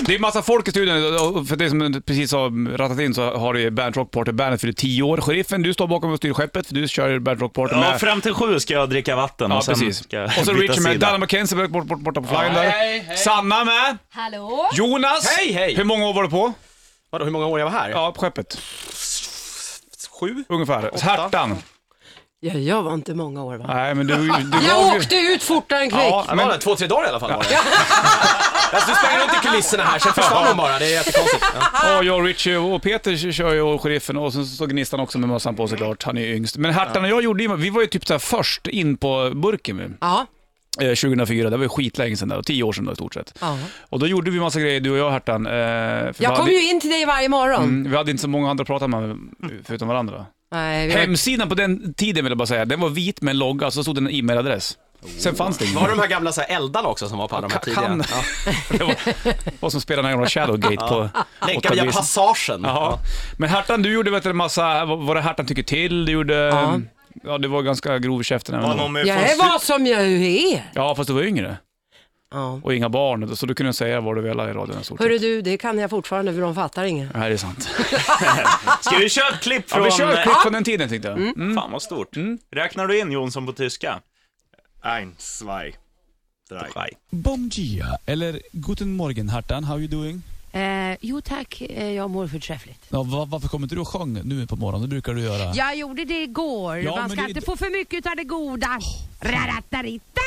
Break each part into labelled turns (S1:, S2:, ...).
S1: Det är massa folk i studion, och för det som du precis har rattat in så har du ju Bernt Rockporter, Bandet fyller 10 år. Sheriffen, du står bakom och styr skeppet, för du kör ju Bernt Rockporter
S2: Ja,
S1: med.
S2: fram till sju ska jag dricka vatten
S1: Ja,
S2: och sen
S1: precis.
S2: ska jag
S1: Och så
S2: byta
S1: Richard med,
S2: sida.
S1: Danne McKenzie bort, bort, bort, borta på flaggan där.
S3: hej, hej.
S1: Sanna med,
S4: Hallå?
S1: Jonas.
S3: Hej, hej.
S1: Hur många år var du på?
S3: Vadå, hur många år jag var här?
S1: Ja, på skeppet.
S3: Sju?
S1: Ungefär. Härtan.
S5: Ja, jag var inte många år va?
S1: Nej, men du... du
S5: Jag
S1: var-
S5: åkte ut fortare än kvickt.
S1: Ja,
S3: Ja,
S1: men
S3: men... Två, tre dagar i alla fall var det. Alltså, du sprang runt i kulisserna här, sen försvann hon bara. Det är jättekonstigt. Ja.
S5: Ah!
S1: Ja, jag och Richie och Peter kör ju och sheriffen och sen så Gnistan också med mössan på såklart. Han är ju yngst. Men Hertan och jag gjorde ju, vi var ju typ så här först in på burken ju.
S5: Ja.
S1: Eh, 2004. Det var ju skitlänge sedan där, tio år sedan då i stort sett.
S5: Ja.
S1: Och då gjorde vi massa grejer, du och jag Hertan. eh, för vi
S5: Jag kom
S1: hade-
S5: ju in till dig varje morgon.
S1: Mm, Vi hade inte så många andra att prata med förutom varandra.
S5: Nej, Eh, vi var...
S1: Hemsidan på den tiden vill jag bara säga, den var vit med en logga, så stod det en e-mailadress. Sen fanns det ingen.
S3: Var det de här gamla så här, eldarna också som var på alla de här
S1: Ka- kan-
S3: tidiga? Ja.
S1: Det var, var som spelade den här gamla Shadowgate på
S3: Länkar
S1: åtta
S3: via
S1: bis.
S3: passagen.
S1: Ja. Men Hertan, du gjorde vet du, en massa, vad var det Hertan tycker till? Du gjorde, ja,
S5: Ja.
S1: du var ganska grov i käften. även
S2: Var
S1: då.
S2: någon med från
S5: Jag
S2: stu-
S5: är vad som jag är.
S1: Ja, fast du var yngre
S5: Ja.
S1: och inga barn, så du kunde säga vad du ville i radion. i stort
S5: Hörru
S1: sett.
S5: du, det kan jag fortfarande för de fattar inget.
S1: Nej, det är sant.
S2: Ska vi köra ett klipp
S1: Ja,
S2: från...
S1: vi kör ett klipp från den tiden tänkte jag. Mm.
S2: Fan vad stort. Räknar du in Jonsson på tyska?
S6: Ein, zwei, drei.
S2: Nej.
S7: Bom dia, eller Guten Morgen Hertan, how you doing?
S8: Eh, jo tack, eh, jag mår förträffligt.
S7: Ja, va- varför kommer inte du och sjöng nu på morgonen? Det brukar du göra.
S8: Jag gjorde det igår.
S7: Ja,
S8: Man
S7: men
S8: ska
S7: det-
S8: inte få för mycket av det goda. Raratarita!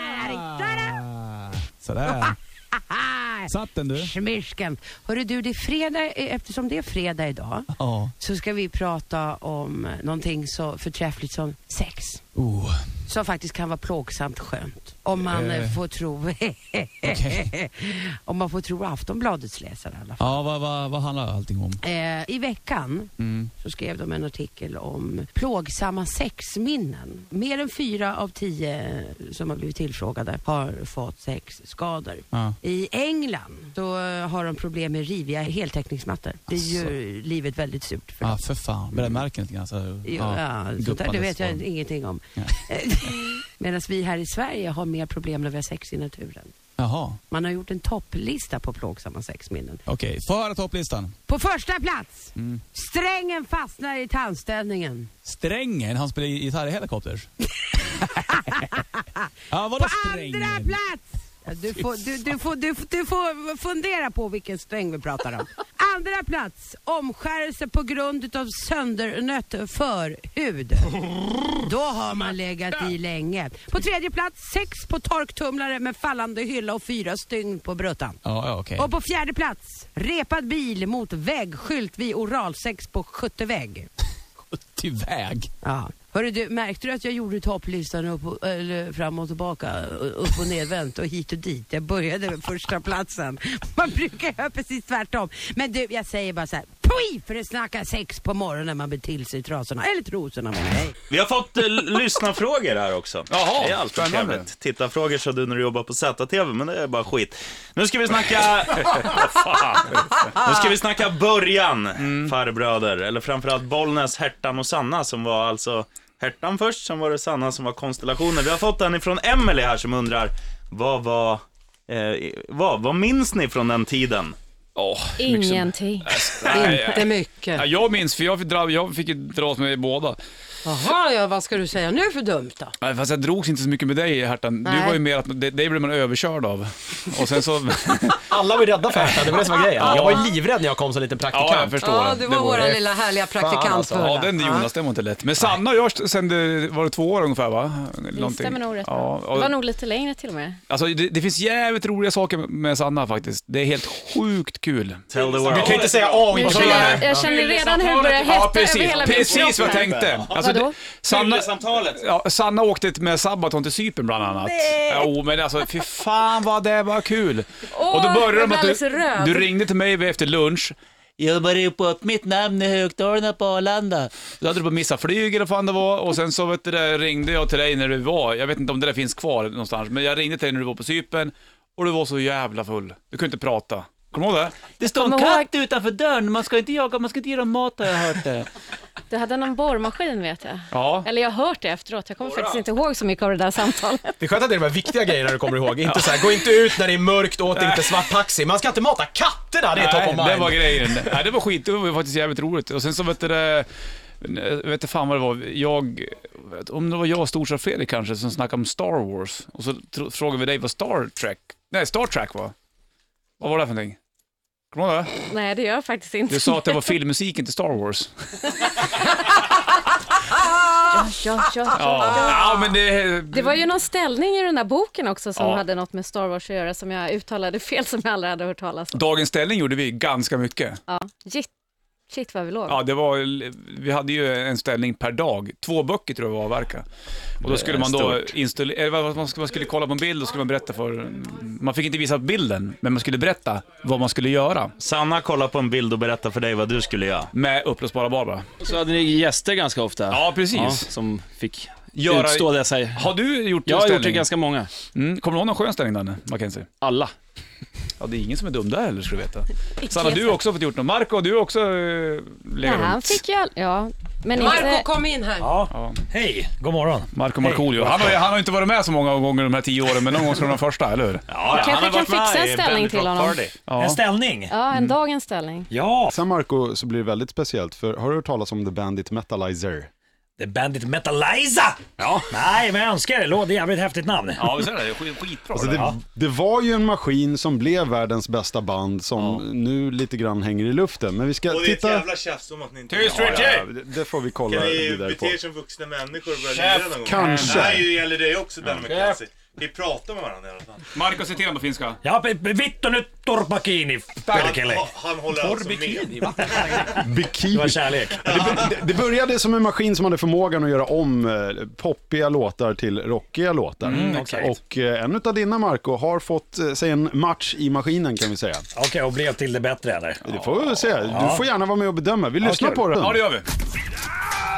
S8: Rararitara!
S7: Ah, Sådär.
S8: Ah,
S7: Satt den du?
S8: Smirsken. Hörru du, det är fredag, eh, eftersom det är fredag idag
S7: Ja.
S8: så ska vi prata om någonting så förträffligt som sex.
S7: Oh,
S8: Som faktiskt kan vara plågsamt skönt. Om man
S7: Eh.
S8: eh, får tro...
S7: okej.
S8: om man får tro Aftonbladets läsare i alla fall.
S7: Ja, vad, vad, vad handlar allting om?
S8: Eh, I veckan
S1: Mm.
S8: så skrev de en artikel om plågsamma sexminnen. Mer än fyra av tio som har blivit tillfrågade har fått sexskador.
S7: Ja.
S8: I England så eh, har de problem med riviga heltäckningsmattor. Det
S1: Alltså.
S8: gör livet väldigt surt för
S7: Alltså. Ja,
S8: dem.
S7: för fan. Brännmärken lite grann. Så, här,
S8: Ja, ja, sånt där, det
S7: guppandes
S8: vet jag
S7: form.
S8: ingenting om.
S7: Nej.
S8: Medan vi här i Sverige har mer problem när vi har sex i naturen.
S7: Jaha,
S8: Man har gjort en topplista på plågsamma sexminnen.
S7: okej. Få höra topplistan.
S8: På första plats!
S1: Mm.
S8: Strängen fastnar i tandställningen.
S7: Strängen, han spelar gitarr i Helicopters. ja, vadå
S8: På
S7: strängen?
S8: andra plats! Ja, Du får, du, du, får, du, får- du får fundera på vilken sträng vi pratar om. Andra plats, omskärelse på grund av söndernött förhud. Då har man legat i länge. På tredje plats, sex på torktumlare med fallande hylla och fyra stygn på bruttan.
S7: Ja, ja okej.
S8: Och på fjärde plats, repad bil mot vägskylt vid oralsex på 70-väg.
S7: Till väg.
S8: Ja. Hörru, du, märkte du att jag gjorde topplistan upp och, eller fram och tillbaka, u- upp och nedvänt och hit och dit? Jag började med första platsen. Man brukar göra precis tvärtom. Men du, jag säger bara så här, pui för att snacka sex på morgonen när man blir till sig i trasorna, eller trosorna menar jag.
S2: Vi har fått eh, lyssnarfrågor här också.
S1: Jaha,
S2: det är alltid
S1: spännande.
S2: trevligt. Tittarfrågor sa du när du jobbar på ZTV, men det är bara skit. Nu ska vi snacka... nu ska vi snacka början, farbröder. Eller framförallt Bollnäs, Hertan och Sanna som var alltså Hertan först, sen var det Sanna som var konstellationen. Vi har fått en ifrån Emily här som undrar, vad var... Eh, vad, vad minns ni från den tiden?
S1: Åh, liksom.
S4: Ingenting.
S5: äh, Inte mycket.
S1: Ja, jag minns, för jag fick, dra, jag fick ju dras med båda.
S5: Jaha, ja, vad ska du säga nu för dumt då?
S1: Nej, Fast jag drogs inte så mycket med dig Hertan. Du
S5: Nej.
S1: var ju mer att, dig dig blev man överkörd av. Och sen så...
S3: Alla var ju rädda för Hertha, det var det som var grejen. Jag var ju livrädd när jag kom som liten praktikant.
S1: ja, jag förstår.
S5: Ja, du var
S1: Det
S5: vår
S1: ju-
S5: lilla härliga praktikant
S3: alltså.
S5: Bulla.
S1: Ja, den Jonas, den var inte lätt. Men Sanna och jag st- sen det var det två år ungefär va?
S4: Det
S1: Någonting.
S4: stämmer nog rätt
S1: ja,
S4: bra.
S1: och,
S4: Det var nog lite längre till och med.
S1: alltså, det, det finns jävligt roliga saker med Sanna faktiskt. Det är helt sjukt kul.
S2: Tell the
S3: Du
S2: world.
S3: kan ju inte säga A
S4: Jag
S3: och
S4: känner, jag känner redan hur det börjar hetta över
S1: precis,
S4: hela min
S1: precis vad jag
S4: kropp här.
S1: tänkte. Alltså,
S4: Vadå?
S1: det- Sanna,
S2: Samtalet.
S1: ja, Sanna åkte med Sabaton till Cypern bland annat. Nej. Jo, men alltså fy fan vad det var kul.
S4: Åh,
S1: och då började
S4: jag
S1: de
S4: blir
S1: att du,
S4: alldeles röd.
S1: du ringde till mig efter lunch. Jag bara ropa upp mitt namn i högtalarna på Arlanda. Då hade du bara missat flyg eller vad fan det var och sen så vet du, det, ringde jag till dig när du var, jag vet inte om det där finns kvar någonstans, men jag ringde till dig när du var på Cypern och du var så jävla full. Du kunde inte prata. Kommer du ihåg det? Det står
S4: Kommer ihåg.
S1: utanför dörren, man ska inte jaga, man ska inte ge dem mat har jag hört det.
S4: Du hade någon borrmaskin vet jag.
S1: Ja.
S4: Eller jag har hört det efteråt. Jag kommer faktiskt inte ihåg så mycket av det där samtalet.
S3: Det är skönt att det är de här viktiga grejerna du kommer ihåg. Inte så här, gå inte ut när det är mörkt, åt inte svart taxi. Man ska inte mata katterna, det är top of
S1: Nej,
S3: mind.
S1: det var grejen. Nej, det var skit, det var faktiskt jävligt roligt. Och sen så vet du det, jag vet inte fan vad det var, jag, vet- om det var jag och Storsa Fredrik kanske som snackade om Star Wars. Och så tro- frågade vi dig vad Star Trek, nej Star Trek var. Vad var det för någonting? Kommer du ihåg det?
S4: Nej, det gör jag faktiskt inte.
S1: Du sa att det var filmmusiken till Star Wars.
S4: Ja, ja, ja, ja.
S1: Ja, ja men det...
S4: Det var ju någon ställning i den där boken också som
S1: Ja.
S4: hade något med Star Wars att göra som jag uttalade fel som jag aldrig hade hört talas om.
S1: Dagens ställning gjorde vi ganska mycket.
S4: Ja. Shit, shit vad vi låg.
S1: Ja, det var, vi hade ju en ställning per dag. Två böcker tror jag var avverka. Och då skulle man då installera, eller vad- man skulle, man skulle kolla på en bild och skulle man berätta för... Man fick inte visa bilden, men man skulle berätta vad man skulle göra
S2: Sanna kollar på en bild och berättar för dig vad du skulle göra.
S1: med upplösbara Barbara.
S9: Så hade ni gäster ganska ofta.
S1: Ja, precis.
S9: Ja, som fick
S1: Göra-
S9: utstå dessa.
S1: Har du gjort
S9: Jag
S1: en
S9: har gjort det
S1: ställning?
S9: ganska många.
S1: Mm. Kommer du ihåg någon skön ställning Danne, Mackenzie?
S9: Alla.
S1: Ja, det är ingen som är dum där heller, ska du veta. Sanna, du har också fått gjort något. Marco, du har också eh,
S4: Nej,
S1: legat
S4: han
S1: runt.
S4: fick ju all... Ja, men
S5: Marco
S4: inte...
S5: kom in här.
S10: Hej, god morgon.
S1: Marco Markoolio. Han, har ju- han har ju inte varit med så många gånger de här tio åren, men någon gång ska han vara första, eller hur?
S2: Ja,
S4: kanske kan fixa en ställning till honom.
S10: En ställning.
S4: Ja, en dagens ställning.
S10: Ja.
S11: Sen Marco så blir det väldigt speciellt, för har du hört talas om The Bandit Metalizer?
S10: The Bandit Metaliza.
S1: Ja.
S10: Nej, men jag önskar det. Låt- Det är jävligt häftigt namn.
S1: Ja, visst är det? Skitbra.
S11: Alltså det, det var ju en maskin som blev världens bästa band som nu lite grann hänger i luften. Men vi ska
S6: Och det är ett
S11: titta...
S6: jävla tjafs om att ni inte...
S1: Tyst, Richard!
S11: Ja, det- det får vi kolla
S6: Kan ni
S11: vidare
S6: bete
S11: på.
S6: er som vuxna människor och börja lira någon gång?
S11: kanske.
S6: Det här ju- gäller dig också, Danne McKenzie. Vi pratar med varandra i alla fall.
S1: Marco, citera på finska.
S10: Ja, p- p- vittu nyt torpakini, perkele.
S6: Han, han håller alltså med.
S10: Det
S11: Bikini.
S10: var kärlek.
S11: Det, det började som en maskin som hade förmågan att göra om eh, poppiga låtar till rockiga låtar.
S10: Mm, exakt.
S11: och eh, en av dina Marco har fått eh, sig en match i maskinen kan vi säga.
S10: Okej, och blev till det bättre eller?
S11: Det får vi se. Du får gärna vara med och bedöma. Vi lyssnar
S10: kul.
S11: på den.
S1: Ja, det gör vi.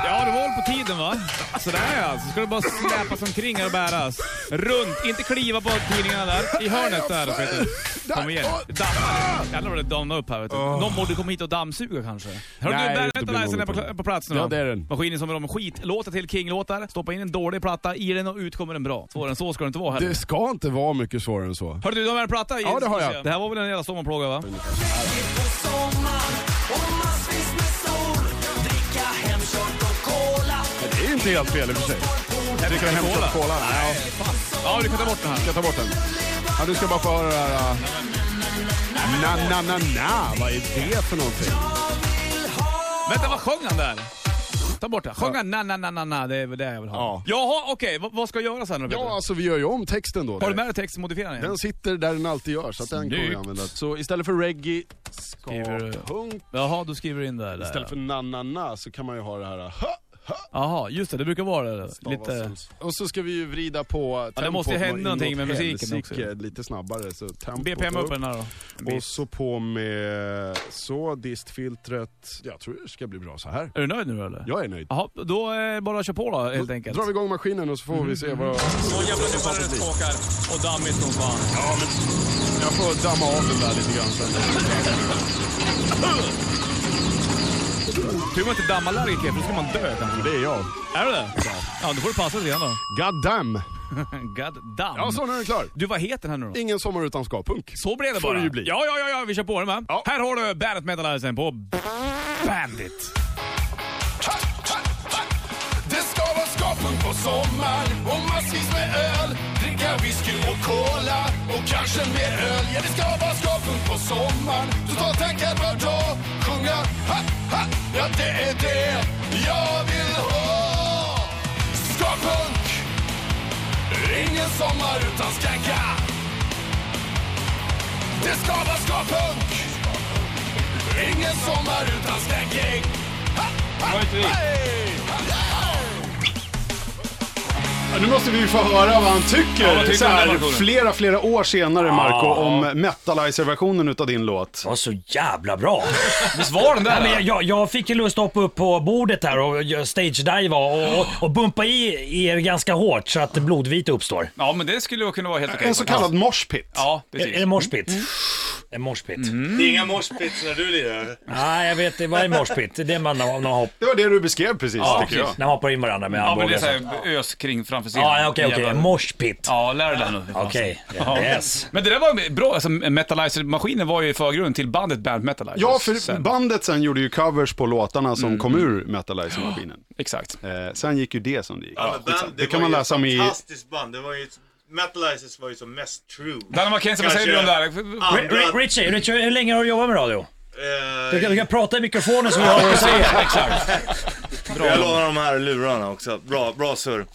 S7: Ja, det var på tiden va? Sådär ja, så ska det bara släpas omkring här och bäras. Runt, inte kliva på tidningarna där. I hörnet där, vet du. Kom igen. Damma. Jävlar vad det damnar upp här, vet du. Någon borde komma hit och dammsuga kanske. Hör du,
S10: Nej,
S7: där
S10: det
S7: vänta
S10: blir
S7: Lizen är
S10: nog
S7: på, på plats nu
S10: Ja,
S7: då.
S10: det är den.
S7: Maskinen som rör om skitlåtar till King-låtar. Stoppa in en dålig platta i den och ut kommer en bra. Svårare än så ska det inte vara heller.
S11: ska inte vara mycket svårare än så.
S7: Hörru du, du har med en platta?
S11: Ja, det har jag.
S7: Det här var väl en jävla sommarplåga va?
S11: Det är inte helt fel i och för sig. Du kan hämta upp kolan.
S7: Ja, du kan ta bort den här.
S11: Jag tar bort den. Ja, du ska bara få höra det här... uh, Na, na, na, na. Vad är det för någonting?
S7: Vänta, vad sjöng han där? Ta bort det. Sjöng han na, na, na, na, na? Det är väl det jag vill ha.
S11: Ja.
S7: Jaha, okej. Vad- vad ska jag göra sen då Peter?
S11: Ja, alltså vi gör ju om texten då.
S7: Har du med dig texten modifierad igen?
S11: Den sitter där den alltid gör, så att den kommer vi
S7: Snyggt.
S11: använda. Så istället för reggae, ska,
S7: Skriver du-
S11: punk.
S7: Jaha, du skriver in där. där.
S11: Istället för na, na, na så kan man ju ha det här... uh, hö,
S7: Jaha, just det. Det brukar vara det. Lite...
S11: stavas. Och så ska vi ju vrida på tempot.
S7: det måste ju hända
S11: inåt
S7: någonting med musiken
S11: helsike,
S7: också.
S11: Lite snabbare, så tempot
S7: BPM upp
S11: upp.
S7: den här då.
S11: Och så på med så, distfiltret. Jag tror det ska bli bra så här.
S7: Är du nöjd nu eller?
S11: Jag är nöjd.
S7: Jaha, då är det bara att köra på då helt enkelt.
S11: Drar vi igång maskinen och så får vi se vad...
S7: Åh jävlar nu börjar det skaka och dammigt som fan.
S11: Jag får damma av den där lite grann sen.
S7: Tur man inte dammar allergiker för då ska man dö kanske.
S11: Det är jag.
S7: Är du det? Ja, då får du passa lite grann då.
S11: God damn!
S7: God damn.
S11: Ja, så nu är den klar.
S7: Du, vad heter den här nu då?
S11: Ingen sommar utan ska-punk.
S7: Så blev det
S11: Får
S7: bara.
S11: det ju bli.
S7: Ja, ja, ja, ja, vi kör på den va?
S11: Ja.
S7: Här har du Bandet Metalizen på Bandit.
S11: Det ska vara ska-punk på sommar och massvis med öl. Dricka whisky och cola och kanske mer öl. Ja, det ska vara ska-punk på sommar. Totalt tankad var dag. Sjunga ha, ha. Ja, det är det jag vill ha. Ska-punk. Ingen sommar utan skanka. Det ska vara ska-punk. Ingen sommar utan skanking. Ha, ha, hej. Ja, Nu måste vi ju få höra vad han tycker,
S1: Ja, vad tycker
S11: så
S1: han,
S11: här,
S1: Marco?
S11: flera, flera år senare Marco, om Metalizer-versionen utav din låt.
S10: Det var så jävla bra.
S1: Visst var den
S10: Ja,
S1: där?
S10: men jag, jag, jag fick ju lust att hoppa upp på bordet här och stage-diva och, och, och bumpa i er ganska hårt så att blodvite uppstår.
S1: Ja, men det skulle kunna vara helt okej.
S11: En så kallad moshpit.
S1: Ja,
S10: Är, är
S1: precis. Mm.
S10: det moshpit? Mm. En morspit.
S6: Det är Mm. inga moshpits när du lirar.
S10: Nej, jag vet inte. Vad är morspit? Det är det man när man hoppar.
S12: Det var det du beskrev precis,
S10: Ja,
S12: tycker jag.
S10: precis. När man hoppar in varandra med
S1: Ja, men det är
S10: armbågar.
S1: såhär ös kring framför scenen.
S10: Ja, okej, okej.
S1: Jävlar.
S10: Morspit.
S1: Ja, lär dig den nu.
S10: Okej.
S1: Ja.
S10: Yes.
S1: Men det där var bra, alltså Metalizer-maskinen var ju i förgrunden till bandet Band Metalizer.
S12: Ja, för
S1: Sen-
S12: bandet sen gjorde ju covers på låtarna som kom ur Metalizer-maskinen.
S1: Exakt.
S12: Eh, sen gick ju det som det gick.
S6: Ja, men
S12: skitsamma.
S6: band,
S12: det
S6: det
S12: kan
S6: var
S12: man
S6: ju
S12: läsa om i...
S6: fantastiskt band. Det var ju, Metalizers var ju som mest true.
S1: Danne Mackenzie, vad säger du om det här? Ah,
S10: Ri- Ri- Richie, Richie, hur länge har du jobbat med radio? Du kan, du kan prata i mikrofonen så vi
S6: Ja,
S10: hör vad du säger.
S6: precis, exakt. Bra. Jag lånar de här lurarna också. Bra, bra surr.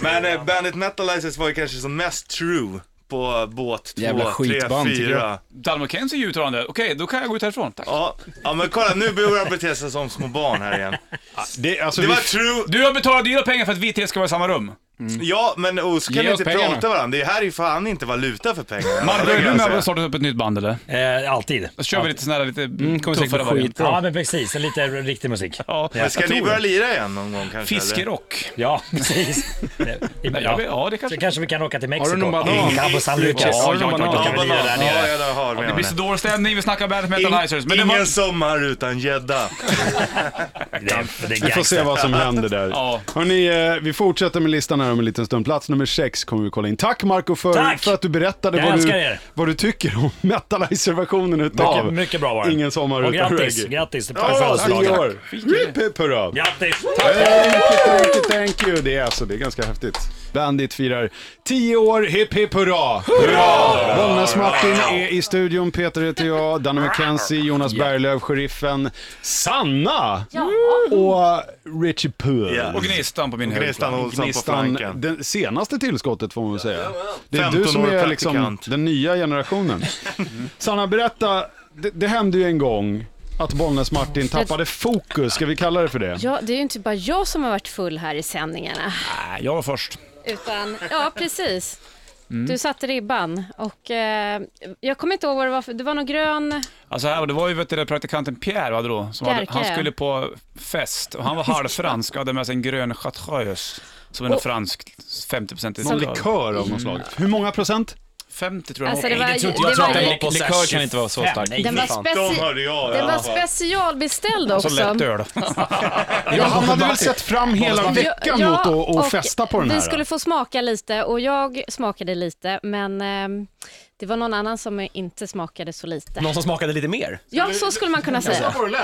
S6: Men eh, bandet Metalizers var ju kanske som mest true på båt 2, 3, 4.
S1: Dalmo Kenzie är ju uttalande. Okej, då kan jag gå ut härifrån. Tack.
S6: Ja, ja men kolla nu börjar de bete sig som små barn här igen.
S12: Ah, Det, alltså,
S6: Det var true.
S1: Du har betalat dyra pengar för att vi tre ska vara i samma rum.
S6: Mm. Ja, men och så
S1: Ge
S6: kan ni
S1: oss
S6: inte
S1: pengarna.
S6: prata varandra. Det här är ju fan inte valuta för pengar.
S1: Marre, är du med och startar upp ett nytt band eller?
S10: Eh, alltid.
S1: Då kör vi lite sån här lite
S10: Mm,
S1: tuffare
S10: Ja, men precis. Lite riktig musik.
S1: Ja.
S6: Men ska ni börja lira igen någon gång kanske? eller?
S1: Fiskerock.
S10: Ja, precis.
S1: Nej, jag vet- ja, det kanske...
S10: Så kanske vi kan åka till Mexiko.
S1: Har du någon banan?
S10: I Cabo San Lucas.
S1: Ja, har du någon
S10: Ja,
S1: banan?
S10: kan vi lira där nere.
S1: Ja, det blir så dålig stämning, vi snackar bandet
S6: In-
S1: Metalizers. Men det
S6: Ingen
S1: var...
S6: sommar utan gädda.
S12: Vi får se vad som händer där.
S1: Ja.
S12: Hörrni, eh, vi fortsätter med listan här om en liten stund. Plats nummer sex kommer vi kolla in. Tack Marco för,
S10: Tack!
S12: för att du berättade
S10: Jag
S12: vad
S10: älskar
S12: du,
S10: er.
S12: vad du tycker om Metalizer-versionen utav
S10: Mycket, mycket bra var det.
S12: Ingen sommar
S10: Och
S12: utan
S10: grattis,
S12: reggae.
S10: grattis till
S12: Ja,
S10: födelsedagen.
S12: tio år. Rip, hip, hurra.
S10: Grattis!
S12: Thank you, thank you. Det är alltså, det är ganska häftigt. Bandit firar 10 år, hipp hipp hurra! Hurra! Bollnäs-Martin är i studion, Peter heter jag, Danne McKenzie, Jonas Berglöf, sheriffen, Sanna och Richie Pull.
S1: Och Gnistan på min höjd.
S12: Gnistan, det senaste tillskottet får man väl säga. Det är du
S6: 15
S12: som
S6: år
S12: är liksom
S6: praktikant.
S12: den nya generationen.
S1: Mm.
S12: Sanna, berätta. Det, det hände ju en gång att Bollnäs-Martin tappade fokus, ska vi kalla det för det?
S4: Ja, det är ju inte bara jag som har varit full här i sändningarna.
S1: Nej, Äh, jag var först.
S4: Utan, ja precis. Du satte ribban och eh, jag kommer inte ihåg vad det var för, det var någon grön,
S1: Alltså här, det var ju vet du, praktikanten Pierre hade då, som
S4: Pierre
S1: hade, han
S4: Pierre.
S1: skulle på fest och han var halvfransk och hade med sig en grön chartreuse som är en
S4: Och-
S1: fransk 50-procentig
S12: Någon likör av något slag. Hur många procent?
S1: 50 tror jag.
S4: Alltså,
S1: var.
S4: det var- Nej, det tror inte jag. det Jag tror var- att den var på
S1: likör
S4: sex,
S1: kan inte vara så
S4: tjugofem.
S1: stark.
S4: den var,
S6: De hörde
S4: speci-
S6: jag i
S4: den
S6: alla
S4: var
S6: fall.
S4: specialbeställd
S1: Så
S4: också.
S1: lätt öl.
S12: Ja, han hade väl sett fram hela veckan åt att och
S4: och
S12: festa på den
S4: Vi
S12: här.
S4: skulle få smaka lite och jag smakade lite men ehm, det var någon annan som inte smakade så lite.
S3: Någon som smakade lite mer?
S4: Ja, Alltså, så skulle man kunna säga.
S12: det lät.